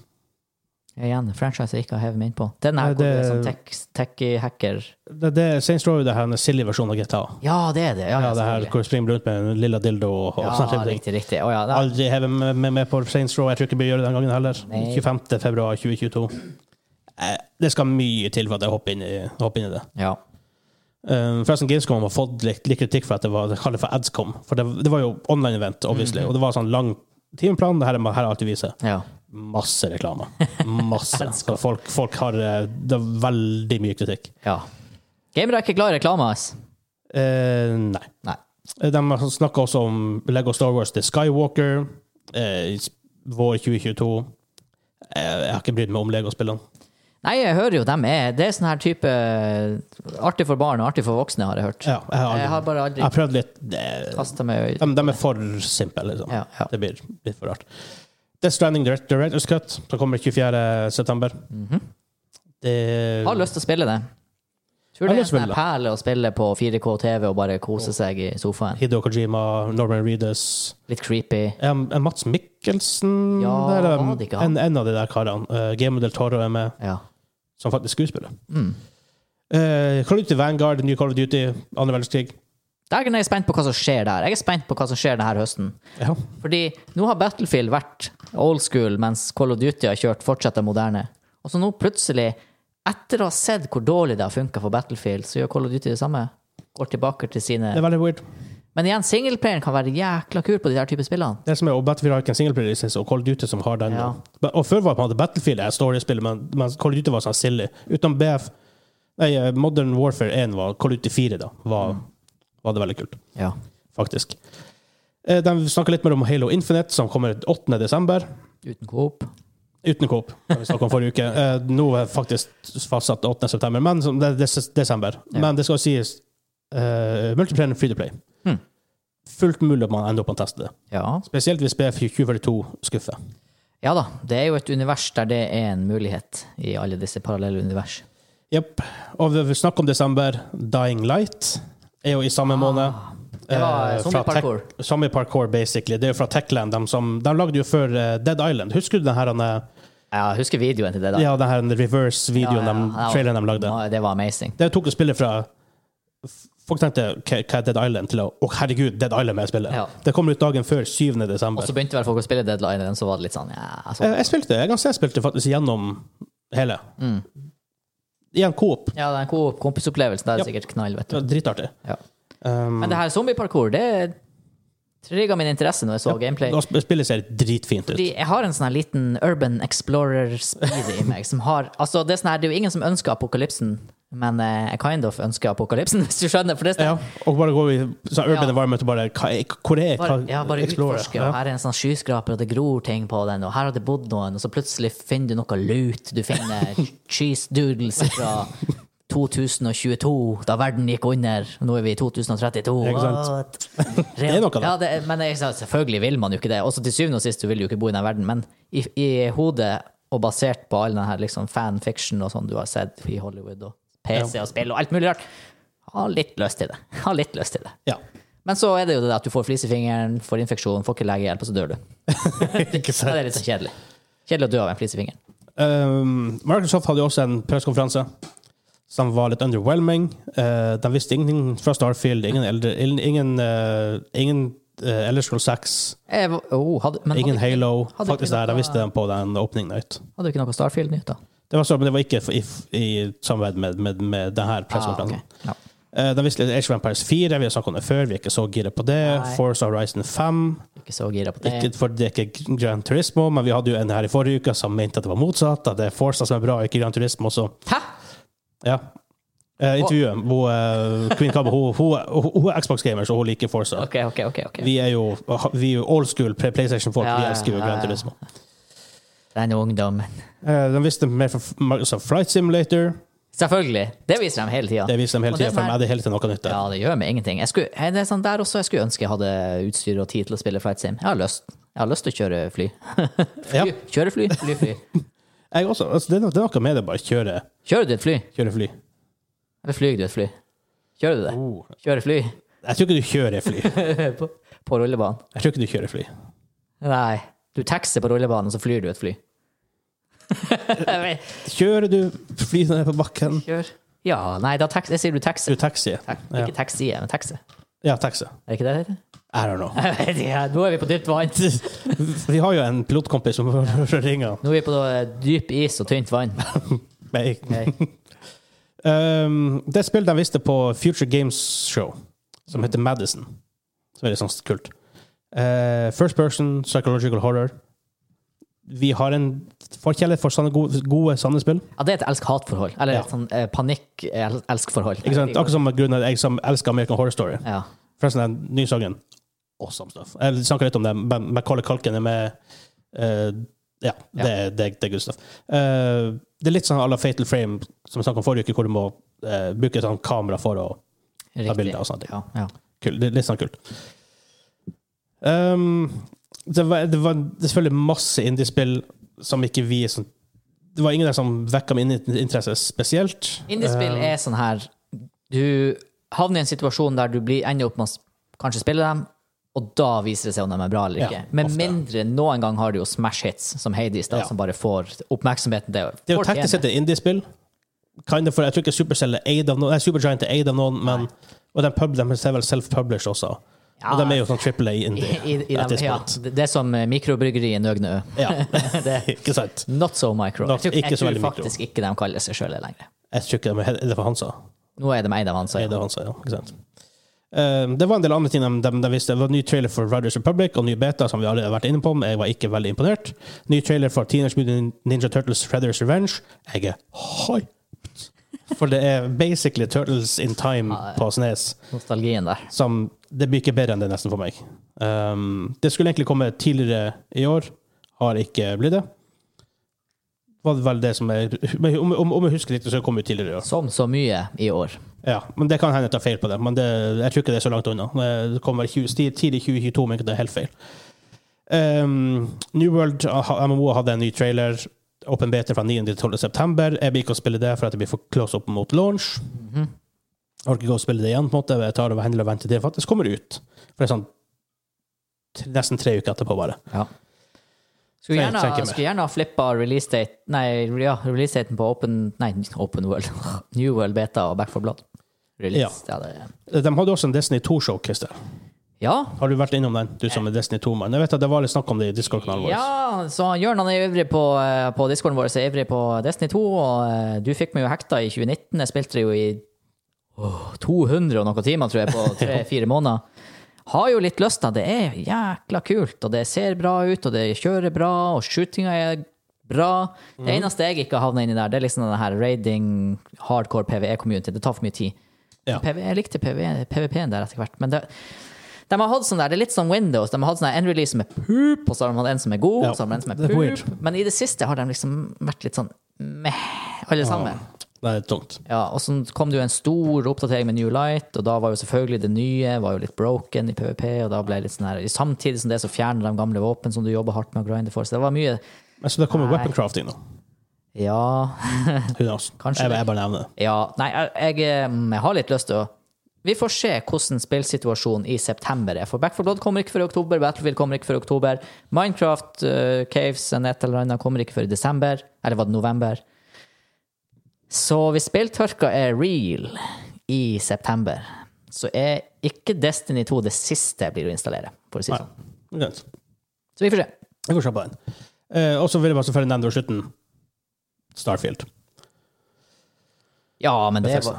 Igjen, franchise jeg ikke har hevet meg inn på. Den Nei, her hvor det er det- sånn tech- techie-hacker Det, det, er Saints Row er det her den silly versjonen av GTA. Ja, det er det! Ja, Ja, ja, det her selvfølgelig. hvor du springer rundt med en lilla dildo og, og ja sånne ting. riktig, riktig. Å ja, da- Aldri hevet med, med, med på Saints Row. Jeg tror ikke vi gjør det den gangen heller. Nei. 25. februar 2022. Eh, Det skal mye til for at jeg hopper inn i, hopper inn i det. ja. Um, forresten, Gamescom har fått litt, litt kritikk for at det var det kalles for Adscom. For det, det var jo online-event, Mhm. obviously, og det var sånn lang timeplan. Det her, er- her er alt vi viser. ja. Masse reklame. <laughs> Masse. Så folk, folk har eh, det er veldig mye kritikk. ja. Gamere er ikke glad i reklame, ass. Eh, nei. Nei. Eh, De snakka også om Lego Star Wars The Skywalker eh, i s- vår 2022. Eh, jeg har ikke brydd meg om Lego-spillene. Nei, jeg hører jo dem er Det er sånn her type eh, Artig for barn og artig for voksne, har jeg hørt. Ja, jeg, har aldri- Jeg har bare jeg aldri har prøvd litt. Det, kasta meg de, de er for simple, liksom. Ja, ja. Det blir litt for rart. The Stranding Direct- Directors Cut som kommer 24. september. Det Har lyst til å spille det. Tror Har det er en lyst til å sånn her spille det. perle å spille på 4K TV og bare kose seg i sofaen. Hideo Kojima, Norman Reedus Litt creepy. Er han- er Mats Mikkelsen Ja, der? Eller, var det ikke han? en, en av de der karene. Uh, Game Del Toro er med, Ja. som faktisk skuespiller. Mm. Uh, Call of Duty Vanguard, New Call of Duty, andre verdenskrig. Dagen er jeg spent på hva som skjer der. Jeg er spent på hva som skjer denne høsten. Ja. Fordi nå har Battlefield vært old school, mens Call of Duty har kjørt fortsatt det moderne. Og så nå plutselig, etter å ha sett hvor dårlig det har funka for Battlefield, så gjør Call of Duty det samme. Går tilbake til sine Det er veldig weird. Men igjen, singleplayeren kan være jækla kul på de der type spillene. Det som er, og Battlefield har ikke en singleplayer license, og Call of Duty som har den. Ja. Og, og før var det på en måte Battlefield et storiespill, men, men Call of Duty var sånn silly. Utenom BF Nei, eh, Modern Warfare 1 var Call of Duty 4, da. Var, Mm. var det veldig kult, Ja. faktisk. Eh, De snakker litt mer om Halo Infinite, som kommer 8. desember. Uten coop. Uten Coop, som vi snakket om forrige uke. Eh, Nå er faktisk fastsatt 8. september, men som, det er des- desember. Ja. Men det skal sies uh, Multiplayer free to play. Hmm. Fullt mulig at man ender opp med å teste det. Ja. Spesielt hvis BF2042 skuffer. ja da, det er jo et univers der det er en mulighet i alle disse parallelle univers. Jepp. Og vi- vi snakker om desember. Dying Light er jo i samme måned. Ah, Det var Eh, fra zombieparkour. Tech- Zombie parkour, basically. Det er jo fra Techland. De, som, de lagde jo før eh, Dead Island. Husker du den her, den, eh, Ja, jeg husker videoen til det, da. ja, den her reverse-videoen, Ja, ja, de- ja. traileren de lagde? Ja, Det var amazing. Det tok å spille fra Folk tenkte "Hva- hva er Dead Island til å Å, herregud, Dead Island med spillet. Ja. Det kommer ut dagen før 7. Og desember. så begynte vel folk å spille Deadline, og så var det litt sånn ja, altså. Eh, Jeg spilte jeg kan si jeg spilte faktisk gjennom hele. Mm. Igjen Coop. ja den ko- kompisopplevelsen der Ja. er sikkert knall, vet Det du. var dritartig. Ja. Um, Men det her zombieparkour, det trigga min interesse når jeg så gameplay. og sp- spillet ser dritfint ut. Fordi jeg har en sånn her liten urban explorer-speed i meg som har Altså, det er, sånn her, det er jo ingen som ønsker apokalypsen, men eh, jeg kind of ønsker apokalypsen, <laughs> hvis du skjønner. For det er sånn, Ja, og bare gå i sånn urban Ja. environment og bare hva, er- Hvor er hva, bare, ja, bare Explorer? utforske, og Ja. her er en sånn skyskraper, og det gror ting på den, og her har det bodd noen, og så plutselig finner du noe lut. Du <laughs> finner cheese doodles fra 2022, da verden gikk under. Nå er vi i 2032. Ikke sant? <laughs> Det er noe, da. Ja, det, er- men jeg, sa, selvfølgelig vil man jo ikke det. Også til syvende og sist, du vil jo ikke bo i den verden. Men i, i hodet, og basert på all den her liksom fanfiction og sånn du har sett i Hollywood, og PC og spill og alt mulig rart, ha litt lyst til det. Ha litt lyst til det. Ja. <laughs> Men så er det jo det at du får flis i fingeren, får infeksjon, får ikke legehjelp, og så dør du. Ja, Ikke sant? det er litt sånn kjedelig. Kjedelig å dø av en flis i fingeren. Um, Microsoft hadde jo også en pressekonferanse som var litt underwhelming. Eh, de visste ingenting fra Starfield, ingen, eldre, ingen, ingen, eh, ingen eh, Elder Scrolls 6, Jeg, var- oh, hadde, men ingen hadde, Halo. hadde Faktisk ikke der, De noe- visste dem på den opening night. hadde du ikke noe Starfield-nytt, da? Det var så, men det var ikke i, i samarbeid med, med, med denne pressekonferansen. Ah, ok. ja. Eh, de visste litt Age of Empires 4, vi har snakket om det før, vi er ikke så gira på det. Nei. Force Horizon 5, Ikke så gira på det. ikke, for det er ikke Gran Turismo, men vi hadde jo en her i forrige uke som mente at det var motsatt, at det er Forza som er bra, ikke Gran Turismo. Så Hæ? ja, Eh, intervjuet. Hun, eh, Queen Cabo hun, hun, hun er Xbox-gamer, så hun liker Forza. OK, OK, OK. ok. Vi er jo vi er jo old school Play- PlayStation-folk. Ja, ja, vi elsker jo ja, Gran ja. Turismo. Den ungdommen. Eh, de visste mer fra Microsoft Flight Simulator. Selvfølgelig. Det viser de hele tida. Det viser de hele Og det tida, som for er- meg er det hele tiden noe nytt. der. Ja, det gjør meg ingenting. Jeg skulle, er det sånn der også, jeg skulle ønske jeg hadde utstyr og tid til å spille flight sim. Jeg har lyst. Jeg har lyst til å kjøre fly. Ja. fly. Kjøre fly, fly, fly. Jeg også, altså, det, er noe- det er noe med det, bare kjøre, Kjører du et fly? kjøre fly. Eller flyr du et fly? Kjører du det? Kjører fly Jeg tror ikke du kjører fly. på, på rullebanen? Jeg tror ikke du kjører fly. Nei. Du taxer på rullebanen, så flyr du <laughs> et fly. Jeg vet- Kjører du fly ned på bakken? Kjør. Ja, nei, da tax, jeg sier du Du taxer. taxi? Tak, Ja. ikke taxi, men taxi. Ja, taxi. Er det ikke det <laughs> det heter? I don't know. Jeg vet ikke, Nå er vi på dypt vann. Vi har jo en pilotkompis som <laughs> ringer. Nå er vi på eh, dyp is og tynt <laughs> vann. Men jeg- Nei. Um, det spillet de viste på Future Games Show, som heter Madison, som er litt sånn kult. Eh, first person, psychological horror. Vi har en forkjærlighet for sånne gode, gode sanne spill. Ja, det er et elsk-hat-forhold. Eller Ja. et sånn eh, panikk-elsk-forhold. Ikke sant? Akkurat som av grunnen at jeg som elsker American Horror Story. Ja. Forresten, den nye sangen Awesome stuff. Jeg snakka litt om det. men Macaulay Culkin er med. eh, ja, Ja. Det, er- det, er- det er good stuff. Eh, det er litt sånn à la Fatal Frame, som vi snakka om forrige uke, hvor du må eh, bruke sånn kamera for å ta Riktig. bilder og sånne ting. Ja, ja. Kul, det er litt sånn kult. Ehm, det, var, det var selvfølgelig masse indiespill som ikke vi sånn, Det var ingen der som vekka min in- interesse spesielt. Indiespill Ehm, er sånn her Du havner i en situasjon der du blir ender opp med å s- kanskje spille dem, og da viser det seg om de er bra eller Ja, ikke. Med ofte. mindre noen gang har du jo smash hits, som Hades, da, Ja. som bare får oppmerksomheten. Det, Det er jo folk teknisk sett enig. et indiespill. Kind of, for jeg tror ikke Supercell er eid av noen. Nei, Supergiant er eid av noen, men Og de, pub, de er vel self-published også. Ja. Og de er jo sånn triple A-indie. <laughs> I, i, i at dem, this ja, point. det, det er som eh, mikrobryggeriet Nøgnø. Ja. <laughs> Det- <laughs> ikke sant? Not so micro. Not- jeg tror, ikke jeg så tror veldig mikro. faktisk ikke de kaller seg sjøl det lenger. Jeg tror ikke de er det for Hansa. Nå er de eid av han, så Eid av Hansa, ja. Ikke sant? Um, det var en del andre ting de, de, de visste. Det var ny trailer for Riders Republic og ny beta, som vi allerede har vært inne på, men jeg var ikke veldig imponert. Ny trailer for Teenage Mutant Ninja Turtles Feathers Revenge. Jeg er hyped! For det er basically Turtles in Time Ja, ja. på Snes. nostalgien der. som Det blir ikke bedre enn det, nesten, for meg. Um, det skulle egentlig komme tidligere i år. Har ikke blitt det. Var det vel det som er men Om, om, om jeg husker riktig, så kom det tidligere i år. Som så mye i år. Ja, men Det kan hende jeg tar feil på det, men det, jeg tror ikke det er så langt unna. Det kommer 20, sti- tidlig 2022, men ikke det er helt feil. Um, New World ha- MMO hadde en ny trailer. Open beta fra 9. til 12. september. Jeg blir ikke å spille det for at jeg blir for close opp mot launch. Mhm. Jeg orker ikke å spille det igjen, på en måte. Jeg tar og handler og venter til det faktisk kommer ut. For det er sånn t- nesten tre uker etterpå, bare. Ja. Skulle Trenger- gjerne, trenger ikke mer. skulle gjerne ha flippa releasedaten Nei, ja, releasedaten på Open Nei, Open World. <laughs> New World Beta og Back for Blood. Release. Ja. Det, Eh, De hadde også en Destiny 2-showcase der. ja. Har du vært innom den, du som er Destiny 2-mann? Jeg vet at det var litt snakk om det i Discord-kanalen vår. ja, så Jørn han er ivrig på, eh, på discorden vår, så er ivrig på Destiny 2, og eh, du fikk meg jo hekta i 2019. Jeg spilte det jo i åh, 200 og noen timer, tror jeg, på tre-fire måneder. Har jo litt lyst, da. Det er jækla kult, og det ser bra ut, og det kjører bra, og shootinga er bra. Det eneste jeg ikke har havna inni der, det er liksom den her raiding, hardcore PVE-community. Det tar for mye tid. Ja. PvE, jeg likte PvE, PVP-en der etter hvert, men det de har hatt sånn der, Det er litt som Windows. De har hatt sånn der, en release som er poop, og så har de hatt en som er god. Ja, og så har de en som er det er poop. weird. Men i det siste har de liksom vært litt sånn meh, alle Ah. sammen. Nei, det er tungt. Ja, Og så kom det jo en stor oppdatering med New Light, og da var jo selvfølgelig det nye var jo litt broken i PVP. og da ble det litt sånn her, Samtidig som det, så fjerner de gamle våpen som du jobber hardt med å grinde for. Så det var mye Men så det kommer Nei. weapon crafting nå. Ja. Who knows? Kanskje jeg, det. jeg bare nevner det. ja nei, jeg, jeg, mm, jeg har litt lyst til å Vi får se hvordan spillsituasjonen i september er. For Back 4 Blood kommer ikke før i oktober, Battlefield kommer ikke før i oktober, Minecraft eh, Caves og et eller annet kommer ikke før i desember, eller var det november? Så hvis spilltørka er real i september, så er ikke Destiny 2 det siste jeg blir å installere, for å si det sånn. Greit. Så vi får se. Jeg går kjapt på den. Eh, og så vil jeg bare selvfølgelig nevne ved slutten Starfield. Ja, men det Bethesda.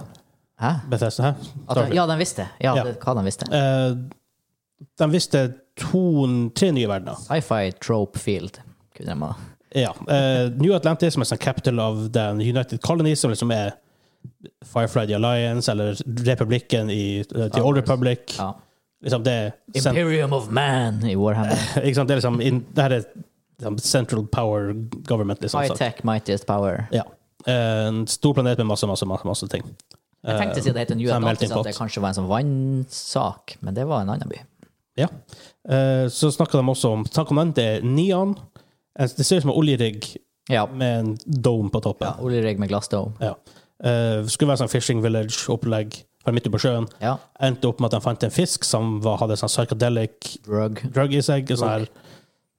var Hæ? Bethesda, hæ? At, Starfield. ja, de visste. Ja, Ja. Det, hva de visste. Eh, de visste to, tre nye verdener. Sci-fi trope field. Kunne de ha Ja. eh, New Atlantis, som er sånn capital of the United Colonies, som liksom er Firefly the Alliance eller Republikken i eh, The Star Old Wars. Republic. Ja. Liksom det, er sen, Imperium of Man i Warhammer. <laughs> ikke sant? det er liksom in, det her er liksom Central Power Government. Liksom, så. High-tech, mightiest power. Ja. Eh, En stor planet med masse, masse, masse, masse ting. Eh, Jeg tenkte å si det het en så er det meldt Atlantis, inn at det flott. kanskje var en sånn vannsak, men det var en annen by. Ja. Eh, Så snakka de også om Snakk om den, det er neon. Eh, Det ser ut som en oljerigg Ja. med en dome på toppen. Oljerigg med glassdome. Ja. Eh, skulle være sånn fishing village-opplegg fra midt ute på sjøen. Ja. Endte opp med at de fant en fisk som var, hadde sånn psychedelic Drug. drug i seg. Sånn her,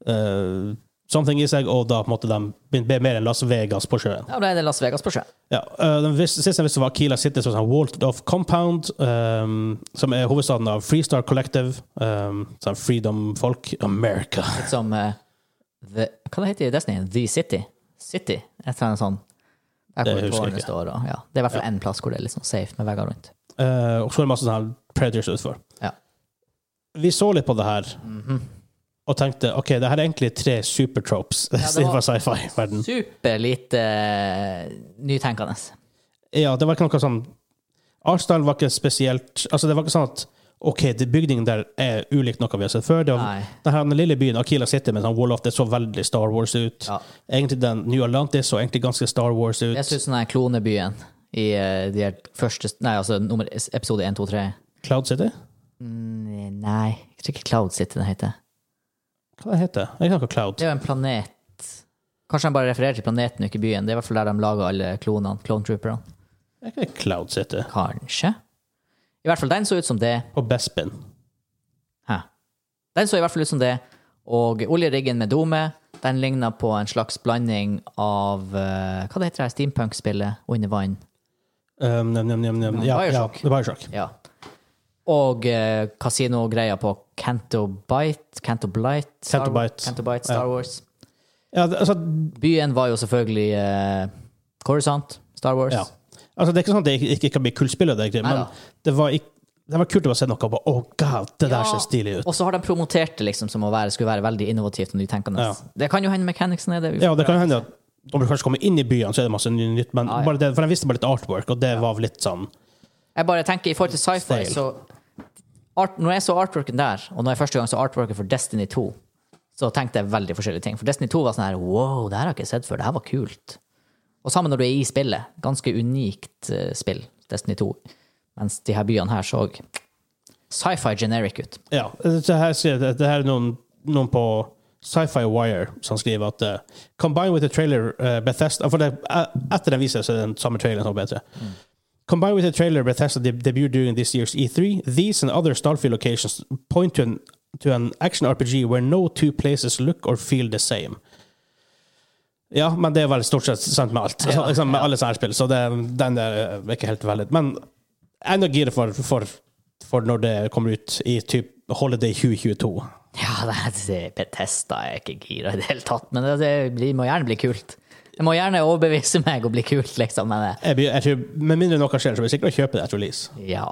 eh, something i seg, og da måtte de bli bli mer enn Las Vegas på sjøen. Ja, da er det Las Vegas på sjø. Ja, eh, den vis- siste jeg visste, var Kila City, som er sånn Walled Off Compound, eh, som er hovedstaden av Freestar Collective, eh, sånn freedom-folk. America. Litt som eh, the, Hva det heter det i Destiny? The City? City? Et eller annet sånn. Der Det hvor husker jeg tårnet ikke. står og ja. Det er i hvert fall en plass hvor det er litt sånn safe med vegger rundt. Eh, og så er det masse sånne predators utfor. Ja. Vi så litt på det her og tenkte ok, det her er egentlig tre supertropes <laughs> det var- fra sci-fi-verden. Superlite eh, nytenkende. Ja, det var ikke noe sånn Artsdalen var ikke spesielt Altså, det var ikke sånn at OK, det bygningen der er ulikt noe vi har sett før. Det var, Nei. den her lille byen Akila City med sånn wall of det så veldig Star Wars ut. Ja. Egentlig den New Atlantis så egentlig ganske Star Wars ut. Det ser ut som den her klonebyen i eh, de her første Nei, altså nummer, episode 1, 2, 3. Cloud City? Mm, nei, jeg tror ikke Cloud City den heter. Hva heter det? Jeg kan ikke Cloud. Det er jo en planet Kanskje de bare refererer til planeten og ikke byen. Det er i hvert fall der de lager alle klonene, clone trooperne. Jeg kan ikke Cloud City. Kanskje. I hvert fall den så ut som det. På Bespin. Hæ. Den så i hvert fall ut som det. Og oljeriggen med dome, den ligna på en slags blanding av eh, Hva det heter det her steampunk-spillet under vann? Um, nem, nem, nem, nem. Ja, ja, Bioshock. det er Bioshock. Ja. Og uh, kasinogreia på Canto Bite Canto Blight? Star- Canto Bight. Canto Bight, Star Wars. Ja, det- altså, Byen var jo selvfølgelig eh, Coruscant, Star Wars. ja. altså, det er ikke sånn at det ikke, ikke kan bli kultspill, av det, egentlig, men Neida. det var, ikk- det var kult å bare se noe og bare, oh, god, det der Ja. ser stilig ut. Og så har de promotert det liksom som å være, skulle være veldig innovativt og nytenkende. Ja. Det kan jo hende Mechanicsen er det. Ja, og det kan hende at når du kanskje kommer inn i byen, så er det masse ny- nytt, men ja. bare det, for jeg visste bare litt artwork, og det var litt sånn Jeg bare tenker i forhold til sci-fi, Style. så art, Når jeg så artworken der, og når jeg første gang så artworken for Destiny 2, så tenkte jeg veldig forskjellige ting. For Destiny 2 var sånn her Wow, det her har jeg ikke sett før. Det her var kult. Og sammen når du er i spillet. Ganske unikt eh, spill, Destiny 2. Mens de her byene her så sci-fi generic ut. <laughs> Ja. Det her, sier- det det her er noen, noen på Sci-Fi Wire som skriver at eh, Combined with the trailer eh, Bethesda For det, eh, etter den vises, så er den samme traileren som er bedre. Combined with the trailer Bethesda deb- debuted during this year's E3, these and other Starfield locations point to an, to an action RPG where no two places look or feel the same. Ja, men det er vel stort sett sant med alt. Ja, <laughs> liksom, med alle sånne her spill, så det, den der er ikke helt valid. Men jeg er nå gira for, for, for når det kommer ut i typ Holiday 2022. Ja, det er- Bethesda er ikke gira i det hele tatt, men det, det blir, må gjerne bli kult. Det må gjerne overbevise meg og bli kult, liksom, men eh, Jeg, blir- jeg tror, Med mindre noe skjer, så blir jeg sikker på å kjøpe det etter release. ja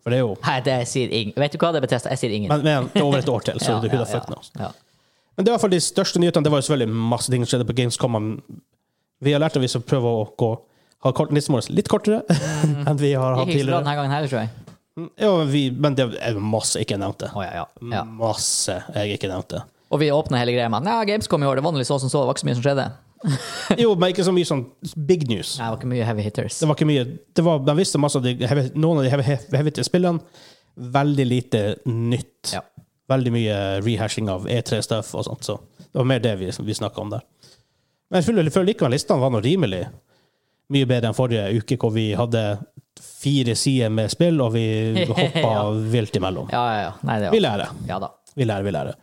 For det er jo Nei, det jeg sier ingen. Vet du hva det er Bethesda? Jeg sier ingen. men, men, det er over et år <laughs> til, så Ja, du who the ja, ja, fuck knows. ja. Men det var i hvert fall de største nyhetene. Det var jo selvfølgelig masse ting som skjedde på Gamescom. men Vi har lært at vi skal prøve å gå, ha kort, nissen vår litt kortere <laughs> Mm. enn vi har hatt Ikke så bra tidligere. denne gangen heller, tror jeg. Ja, vi, men det er masse jeg ikke nevnte. Å, ja, Mm. ja. Ja. Masse jeg ikke nevnte. Og vi åpna hele greia med Nei, Gamescom i år, det var vanlig så som så, det var ikke så mye som skjedde. Jo, men ikke så mye sånn big news. Nei, det var ikke mye heavy hitters. Det var ikke mye det var, De visste masse av de heavy- Noen av de heavy- heavy spillene. Veldig lite nytt. Ja. Veldig mye rehashing av E3-stuff og sånt. Så det var mer det vi, vi snakka om der. Men jeg føler, føler likevel listene var noe rimelig mye bedre enn forrige uke, hvor vi hadde fire sider med spill, og vi hoppa <laughs> Ja. vilt imellom. Ja, ja, ja. Nei, det Vi var lærer. Ja da. Vi lærer, vi lærer.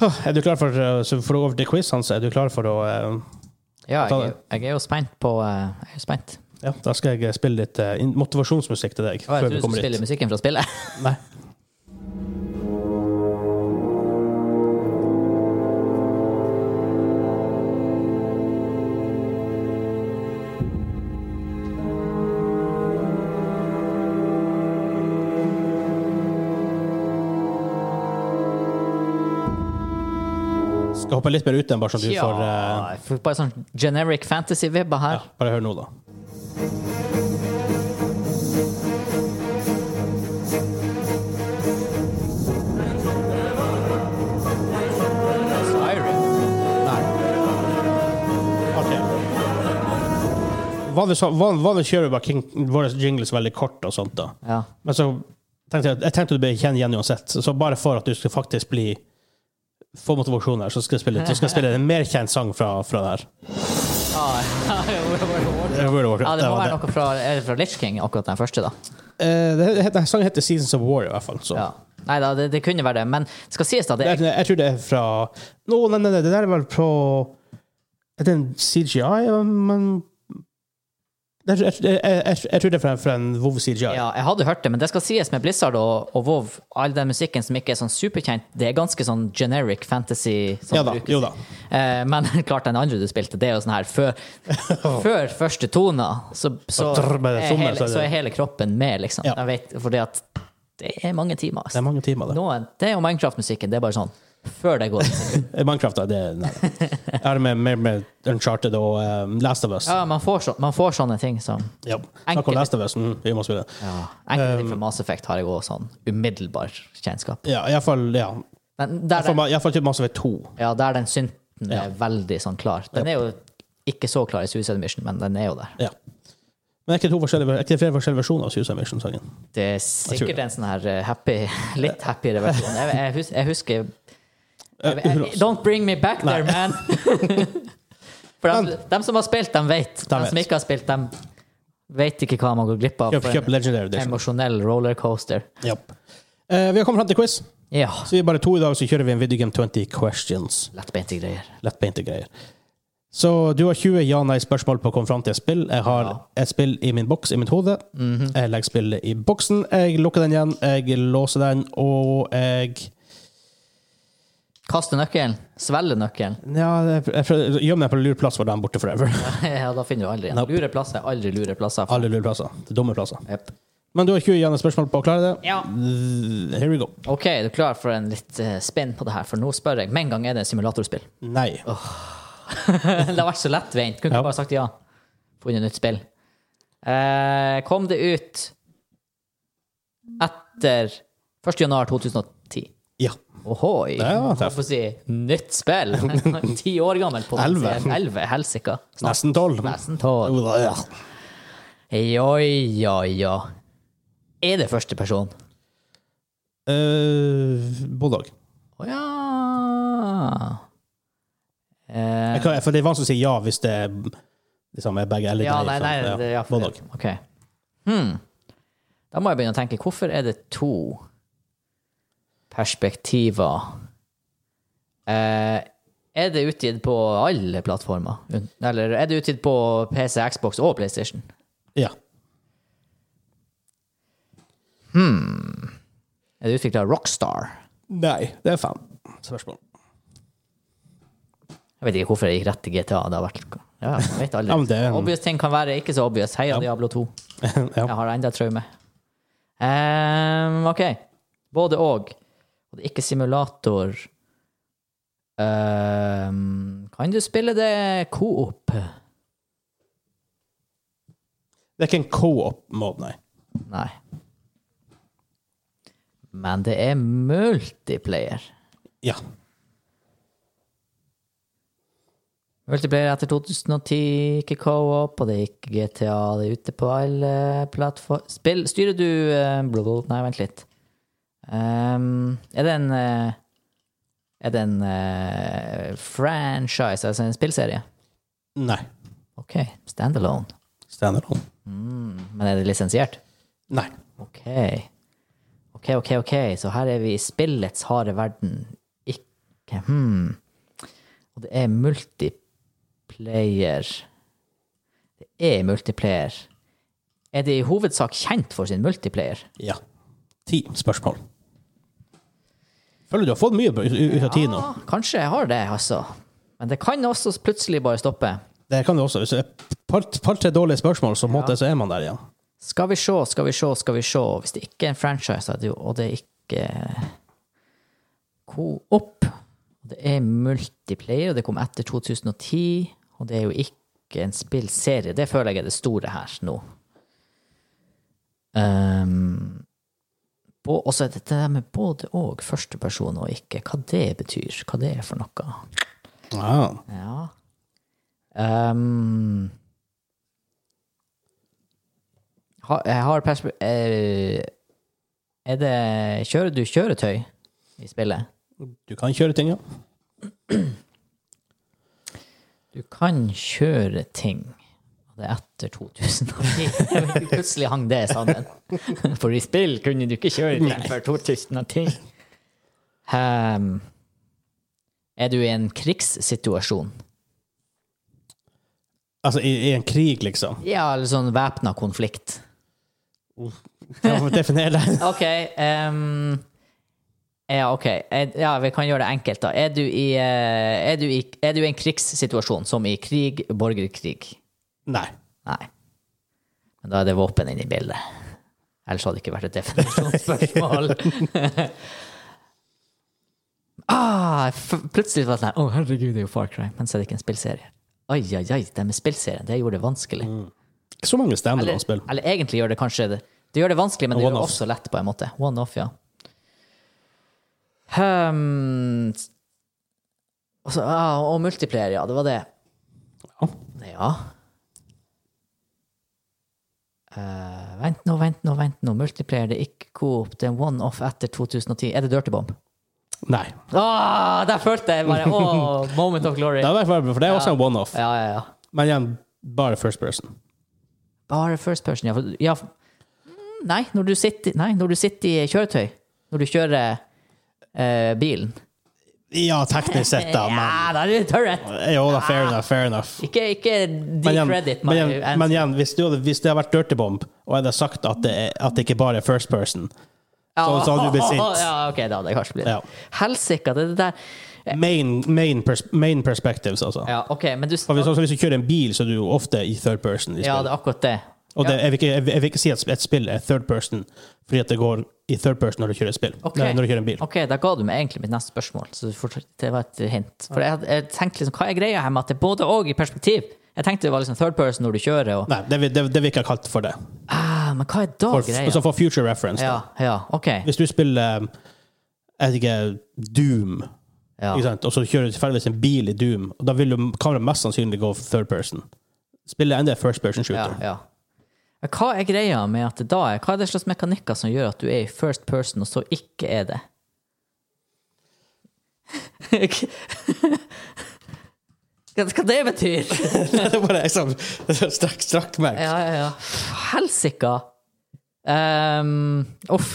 Huh, Er du klar for, uh, så for å gå over til quiz, Hans? Er du klar for å uh, Ja, Ta jeg, jeg er jo spent på eh, Jeg er jo spent. Ja, da skal jeg spille litt uh, in- motivasjonsmusikk til deg. Å, jeg før tror du vi skulle kommer dit. spille musikken fra spillet. Nei. Skal hoppe litt mer ut enn bare sånn <laughs> du Ja, får eh, jeg får bare sånn generic fantasy-vibber her. Bare hør nå, da. Vanligvis van- vanligvis kjører vi bare King, våre jingles veldig kort og sånt, da. Ja. Men så tenkte jeg at jeg tenkte du ble kjent igjen uansett. Så bare for at du skal faktisk bli få motivasjon her, så skal jeg spille, så skal jeg spille en mer kjent sang fra, fra det her. Ah, <laughs> ja, World of Warcraft. det må var være noe fra, er det fra Lich King, akkurat den første, da. Eh, det heter- Sangen heter Seasons of War, i hvert fall. Så. Ja. Nei da, det, det kunne være det, men det skal sies da det Det, er, jeg, jeg tror det er fra Nå, nei, nei, nei, det der er vel på Er det en CGI? Men jeg, tror- jeg, tror- jeg, jeg, jeg tror det er fra, fra en WoW CGI. ja, Jeg hadde hørt det, men det skal sies med Blizzard og, og WoW, all den musikken som ikke er sånn superkjent, det er ganske sånn generic fantasy. Som Ja da, brukes. jo da. Eh, men <laughs> klart, den andre du spilte, det er jo sånn her <laughs> Før, før første tone, så, så, trrr, med er tommel, hele, så er det- så er hele kroppen med, liksom. Ja. Jeg vet, fordi at det er mange timer. Det er mange timer, det. Noen, det er jo Minecraft-musikken. Det er bare sånn før <laughs> det går. Eh, Minecraft, da, det nei. Jeg har mer med, med Uncharted og um, Last of Us. Ja, man får, så, man får sånne ting som Ja. Snakk om Enkelt. Last of Us, mm, vi må spille. Enkelte Um, ting fra Mass Effect har jeg òg sånn umiddelbar kjennskap. Ja, iallfall ja. Men der, den- Iallfall til Mass Effect 2. ja, der den synten er veldig sånn klar. Den er jo ikke så klar i Suicide Mission, men den er jo der. Ja. Men er ikke det to forskjellige, er ikke det flere forskjellige versjoner av Suicide Mission-sangen? Det er sikkert en sånn her eh, happy, <laughs> litt happiere versjon. Jeg, jeg, hus, jeg husker <laughs> Eh, jeg, uhuh, jeg, Don't bring me back there, man! <laughs> For dem, dem som har spilt, dem vet. Dem som vet. ikke har spilt, dem vet ikke hva man går glipp av. Kjøp, for en kjøp liksom. Legendary Edition. Emosjonell rollercoaster. Ja. Eh, vi har kommet fram til quiz. Ja. Så vi er bare to i dag, så kjører vi en Video Game 20 questions. Lettbeinte greier. Lettbeinte greier. Så du har 20 ja-nei-spørsmål på å komme fram til et spill. Jeg har et spill i min boks i mitt hode. Mhm. Jeg legger spillet i boksen. Jeg lukker den igjen, jeg låser den, og jeg Kaste nøkkelen. Svelge nøkkelen. <laughs> Ja, jeg prø- jeg prø- gjemmer meg på en lur plass hvor den er borte forever. Ja, da finner du aldri en. Nope. Ah. Lure plasser er aldri lure plasser. <laughs> Alle lure plasser. Det er dumme plasser. Jep. Men du har 20 ja-nei-spørsmål på å klare det. Ja. Here we go. OK, er du klar for en litt eh, spinn på det her? For nå spør jeg. Med en gang er det simulatorspill. <laughs> Nei. det har vært så lettvint. Kunne Ja. ikke bare sagt ja. Funnet nytt spill. Eh, kom det ut etter 1. januar 2010? Ja. Ohoi! Ja, Holdt på å si nytt <laughs> spill. Ti år gammel. potensielt. Elleve. Elleve, helsika. Snart Nesten 12. Nesten tolv. Ja. Oi, oi, oi. Er det første person? Eh, Bulldog. Å ja. Eh, Jeg kan, for det er vanskelig å si ja hvis det er liksom, er begge eller ja, nei, liksom. nei. Det, ja, for Bulldog. det. OK. Hmm. Da må jeg begynne å tenke. Hvorfor er det to perspektiver? Eh, er det utgitt på alle plattformer? Un- Eller er det utgitt på PC, Xbox og PlayStation? Ja. Er det utvikla av Rockstar? Nei, det er fem spørsmål. Jeg vet ikke hvorfor jeg gikk rett til GTA. Det har vært ja, jeg vet aldri. <laughs> Ja, men det- Obvious ting kan være ikke så obvious. Heia Diablo 2. ja. Jeg har enda et traume. Ehm, OK. Både og. Og det er ikke simulator. Ehm, kan du spille det coop? Det er ikke en co-op-mod, nei. Nei. Men det er multiplayer. Ja. Multiplayer etter 2010, ikke co-op, og det er ikke GTA. Det er ute på alle plattformer Spill, Styrer du eh, blå, blå, Nei, vent litt. Ehm, er det en eh, Er det en eh, franchise, altså en spillserie? Nei. OK, standalone. Mm, Standalone. Men er det lisensiert? Nei. OK. OK, OK, ok, så her er vi i spillets harde verden. Ikke hmm. Og det er multiplayer. Det er multiplayer. Er det i hovedsak kjent for sin multiplayer? Ja. Ti spørsmål. Føler du har fått mye ut ut av ti nå? Ah, kanskje jeg har det, altså. Men det kan også plutselig bare stoppe. Det kan du også. Hvis det er par- par-tre dårlige spørsmål, så, måtte, så er man der igjen. Skal vi se, skal vi se, skal vi se. Hvis det ikke er en franchise, så er det jo- og det er ikke eh, Coop og Det er multiplayer, og det kom etter 2010. Og det er jo ikke en spillserie. Det føler jeg er det store her nå. Um, og så er det det der med både og førsteperson og ikke, hva det betyr, hva det er for noe. Ja. Ja. Ehm, ha- jeg har perspe... eh, Er det Kjører du kjøretøy i spillet? Du kan kjøre ting, ja. Du kan kjøre ting. Og det er etter <laughs> 2010. Plutselig hang det sammen. <laughs> For i spill kunne du ikke kjøre ting før 2010. Ehm, er du i en krigssituasjon? Altså, i, i en krig, <laughs> liksom. Ja, eller sånn væpna konflikt. Jeg må definere det. OK. ehm, ja, OK. Er- Ja, vi kan gjøre det enkelt, da. Er du i, eh, er du i, er du i en krigssituasjon, som i krig, borgerkrig? Nei. Nei. Men da er det våpen inne i bildet. Ellers hadde det ikke vært et definisjonsspørsmål. <laughs> ah, jeg f plutselig var det sånn her, Å, herregud, det er jo Far Cry. Men så er det ikke en spillserie. Oi, oi, oi, det med spillserien, det gjorde det vanskelig. Så mange Eller, standalone-spill. eller egentlig gjør det kanskje det. Det gjør det vanskelig, men det gjør det One-off. også lett, på en måte. One-off, ja. Hmm. og, så, ah, og multiplayer, ja. Det var det. Ja. Ja. Eh, vent nå, vent nå, vent nå. Multiplayer, det er ikke coop. Det er one-off etter 2010. Er det Dirty Bomb? Nei. Ah, der følte jeg bare åh, moment of glory. Det er, i hvert fall- for det er også en one-off. Ja, ja, ja. Men igjen, bare first person. Bare first person, ja. for- ja. for- Mm, Nei, når du sitter, nei, når du sitter i kjøretøy. Når du kjører eh, bilen. Ja, teknisk sett, da, men <laughs> Ja, da er det turret! Jo da, fair enough, fair enough. Ikke, ikke Men igjen, decredit men my igjen, men igjen hvis, du hadde, hvis det hadde vært Dirty Bomb, og jeg hadde sagt at det, er, at det ikke bare er first person så- så hadde du blitt sint. <laughs> Ja, ok, da hadde jeg kanskje blitt Ja. Helsike, det er det der. Main, main, pers main perspectives, altså. Ja, ok, men du For hvis, altså, hvis du kjører en bil, så er du jo ofte i third person. I spill. Ja, det er akkurat det. og det, jeg, vil ikke, jeg, vil- jeg vil ikke si at et spill er third person, fordi at det går i third person når du kjører et spill. Ok. Nei, når du kjører en bil. Ok, da ga du meg egentlig mitt neste spørsmål, så du får- det var et hint. For jeg, hadde- jeg tenkte liksom, hva er greia her med at det er både og i perspektiv? Jeg tenkte det var liksom third person når du kjører, og Nei, det, vil- det, det vil ikke ha kalt for det. ah, Men hva er da For, greia? så for future reference, da. Ja, ja, ok. Hvis du spiller um, jeg vet ikke, Doom, Ja. ikke sant? og så kjører du tilfeldigvis en bil i Doom, og da vil jo kameraet mest sannsynlig gå third person. Spiller enda first person Ja, shooter. ja. Men Hva er greia med at det da er Hva er det slags mekanikker som gjør at du er i first person, og så ikke er det? <laughs> Hva hva det betyr? <laughs> det er bare jeg som strakk, strakk meg. Ja, ja, ja. Helsika! Ehm, uff.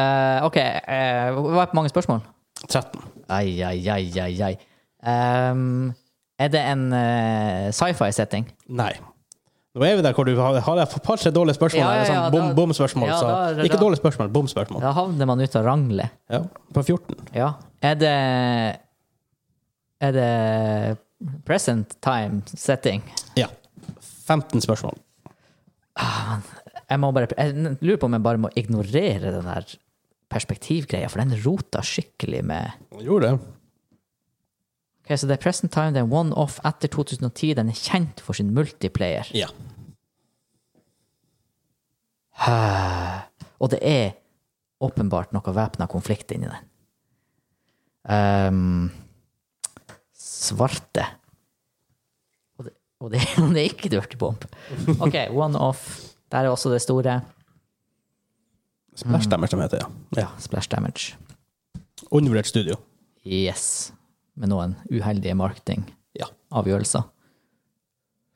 Eh, OK, eh, hva er på mange spørsmål? 13. Ai, ai, ai, ai, ai. Ehm, er det en eh, sci-fi-setting? Nei. Nå er vi der hvor du har, har et par-tre dårlige spørsmål. Ja, ja, ja, eller sånn bom, da- bomspørsmål. ja, så. da er det Ikke da. dårlige spørsmål, bomspørsmål. Ja. Da havner man ute av ranglet. På 14. Ja. Er det Er det present time-setting? Ja. 15 spørsmål. Jeg må bare Jeg lurer på om jeg bare må ignorere den der perspektivgreia, for den rota skikkelig med Gjorde det. Ok, så det er Present Time, det er one-off etter 2010. Den er kjent for sin multiplayer. Ja. Og det er åpenbart noe væpna konflikt inni den. Ehm, svarte. Og det, og det, <laughs> og det er ikke Dirty Bomb. OK, one-off. Der er også det store. Splash Damage, som heter det. Ja. ja. Splash damage. Undervurdert studio. Yes. Med noen uheldige marketingavgjørelser. Ja.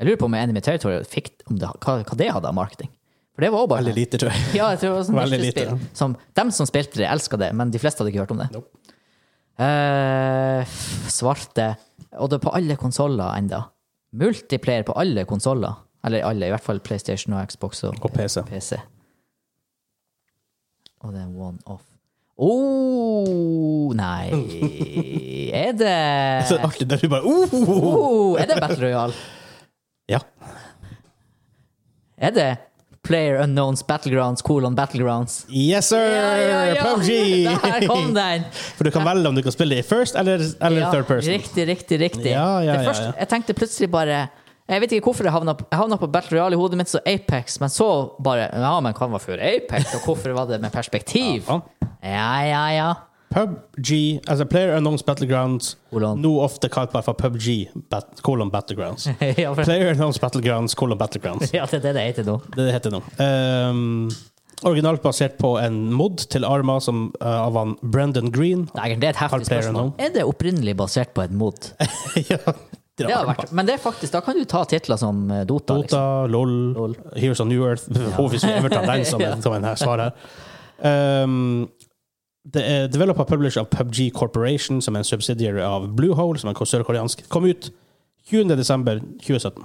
Jeg lurer på om Enemy Territory fikk om det, hva, hva det hadde av marketing. For det var også bare Veldig lite, tror jeg. <laughs> Ja, jeg tror det var sånn Veldig norske lite, spill. Som, dem som spilte det, elska det, men de fleste hadde ikke hørt om det. Nope. Eh, f- svarte Og det er på alle konsoller enda. Multiplayer på alle konsoller. Eller alle, i hvert fall PlayStation og Xbox og Og PC. PC. Og det er one off. Å oh, <laughs> nei Er Så det <laughs> artig der du bare oh, oh, oh, oh. oh, Er det Battle Royale? Ja. Er det Player Unknowns Battlegrounds colon Battlegrounds? Yes, sir! <laughs> Der kom PUBG! den! For du kan velge om du kan spille det i first eller, <laughs> eller Ja, third person. Riktig, riktig, riktig. Ja, ja, det ja, første, ja. Jeg tenkte plutselig bare Jeg vet ikke hvorfor jeg havna, på- jeg havna på Battle Royale i hodet mitt, så Apex, men så bare Ja, men hva var før Apex, og hvorfor var det med perspektiv? Ja. Ja, <laughs> ja, ja. PubG, altså Player Unknowns Battlegrounds, Kolon. nå ofte kalt bare for PubG, bat, kolon Battlegrounds. ja, for, Player Unknowns Battlegrounds, kolon Battlegrounds. ja, det er det det heter nå. Det heter nå. Ehm, originalt basert på en mod til Arma som, eh, av han Brendan Green. <laughs> Nei, det er et heftig Carl Player spørsmål. nå. Er det opprinnelig basert på en mod? ja, det Det er har Arma. vært, men det er faktisk, da kan du ta titler som eh, Dota. Liksom. Dota, LOL, LOL. Heroes of New Earth Håvis og Everton, den <laughs> som er som er her svaret. Um, det er developer og publisher av PubG Corporation, som er en subsidiary av Bluehole, som er en sørkoreansk, kom ut 20. desember 2017.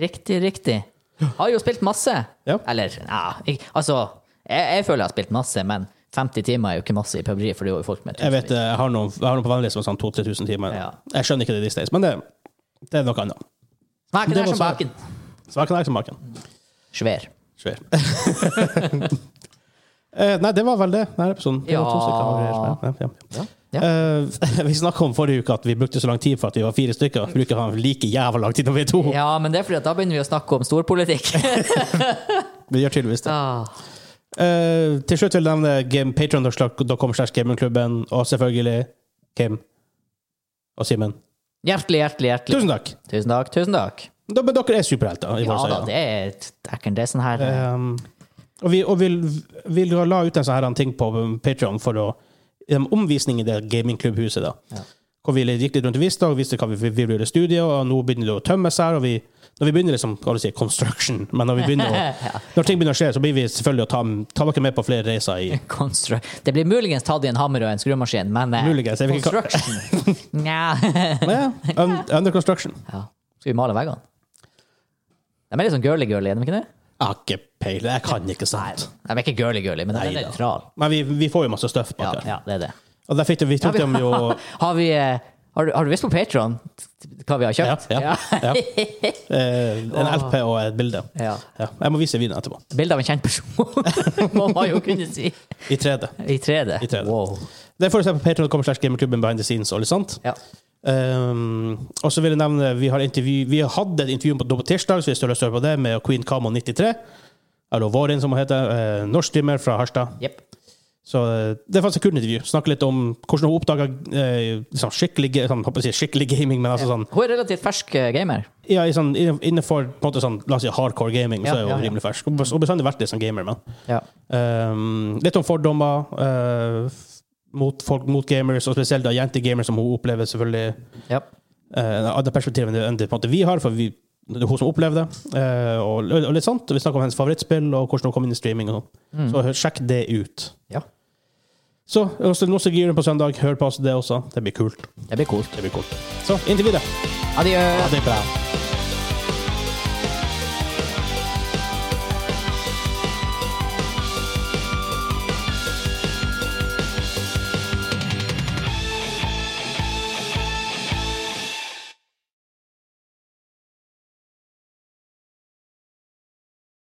Riktig, riktig. Har jo spilt masse. Ja. Eller, ja, ik- altså jeg, jeg føler jeg har spilt masse, men 50 timer er jo ikke masse i PubG, for det er jo folk med Jeg vet, eh, jeg har noen, jeg har noen på vanlig som er sånn 2000 3000 timer. Ja. Jeg skjønner ikke det these days, men det, det er noe annet. Smaken det er var som svaret. baken. Svaken er ikke maken. Svær. Svær. <laughs> Eh, nei, det var vel det. Denne episoden. Det var to Ja. stykker av greier. Ja, ja. Ja. ja. Eh, <laughs> vi snakka om forrige uke at vi brukte så lang tid for at vi var fire stykker. Vi bruker å ha like jævla lang tid når vi er to. ja, men det er fordi at da begynner vi å snakke om storpolitikk. <laughs> Vi gjør tydeligvis det. ah. Eh, til slutt vil jeg nevne game- patreon.com slash gamingklubben, og selvfølgelig Kim og Simen. Hjertelig, hjertelig, hjertelig. Tusen takk! Tusen takk. Tusen takk. Da, men dere er superhelter. i Ja vår da, serie. det er, det er ikke det er sånn her Ehm, og vi, og vil, vil la ut en sånn her ting på Patreon for å en omvisning i det gamingklubbhuset. da. Ja. Hvor vi gikk litt rundt og viste, og viste hva vi, vi gjøre i studio, og nå begynner det å tømmes her. og vi, Når vi begynner liksom, hva du sier, construction, men når, vi <laughs> begynner å, når ting begynner å skje, så blir vi selvfølgelig å ta, ta dere med på flere reiser <laughs> i Constru det blir muligens tatt i en hammer og en skrumaskin, men eh, Muligens, jeg vet ikke hva- <laughs> Construction? Nja. <laughs> Ja, un, Under construction. Ja. Skal vi male veggene? De er litt sånn girly-girly, er de ikke det? Jeg har ikke peiling, jeg kan ikke sant. De er ikke girly-girly, men de er Neida. nøytrale. Men vi, vi får jo masse støff bak Ja, her. ja, det er det. Og der fikk det, vi tok dem jo Har vi eh, har du, har du visst på Patron hva vi har ja, kjøpt? ja, ja. Eh, En LP og et bilde. Ja. Ja, jeg må vise videoen etterpå. Bilde av en kjent person, <laughs> må man jo kunne si. I 3D. I 3D. I 3D. Wow. Det får du se på patreon.com slash gamerklubben behind the scenes. og litt sånt. Ja. Um, og så vil jeg nevne, vi har, intervju, vi har hatt et intervju på, på tirsdag, så hvis du har lyst til å høre på det, med Queen Camo 93. Eller Vårin, som hun heter. Eh, norsk streamer fra Harstad. Jepp. Så eh, det var et kult intervju. Snakke litt om hvordan hun oppdaga eh, liksom skikkelig, ga- sånn, håper jeg å si skikkelig gaming, men altså sånn, Hun er relativt fersk eh, gamer. ja, i sånn inne- innenfor på en måte sånn, la oss si hardcore gaming, Ja, så er hun ja, ja. rimelig fersk. Hun har bestandig vært litt sånn gamer, men. Ja. Um, litt om fordommer eh, mot folk, mot gamers, og spesielt da jentegamere, som hun opplever selvfølgelig Ja. uh, andre perspektiv enn det, enn det på en måte vi har, for vi, det er hun som opplevde det. eh, og, og litt sånt. Vi snakker om hennes favorittspill, og hvordan hun kom inn i streaming. og sånn. Så hør- sjekk det ut. ja. Så også, nå så gir hun på søndag. Hør på oss det også. Det blir kult. Det blir kult. Det blir kult. Så inntil videre. Adjø. Ha det bra.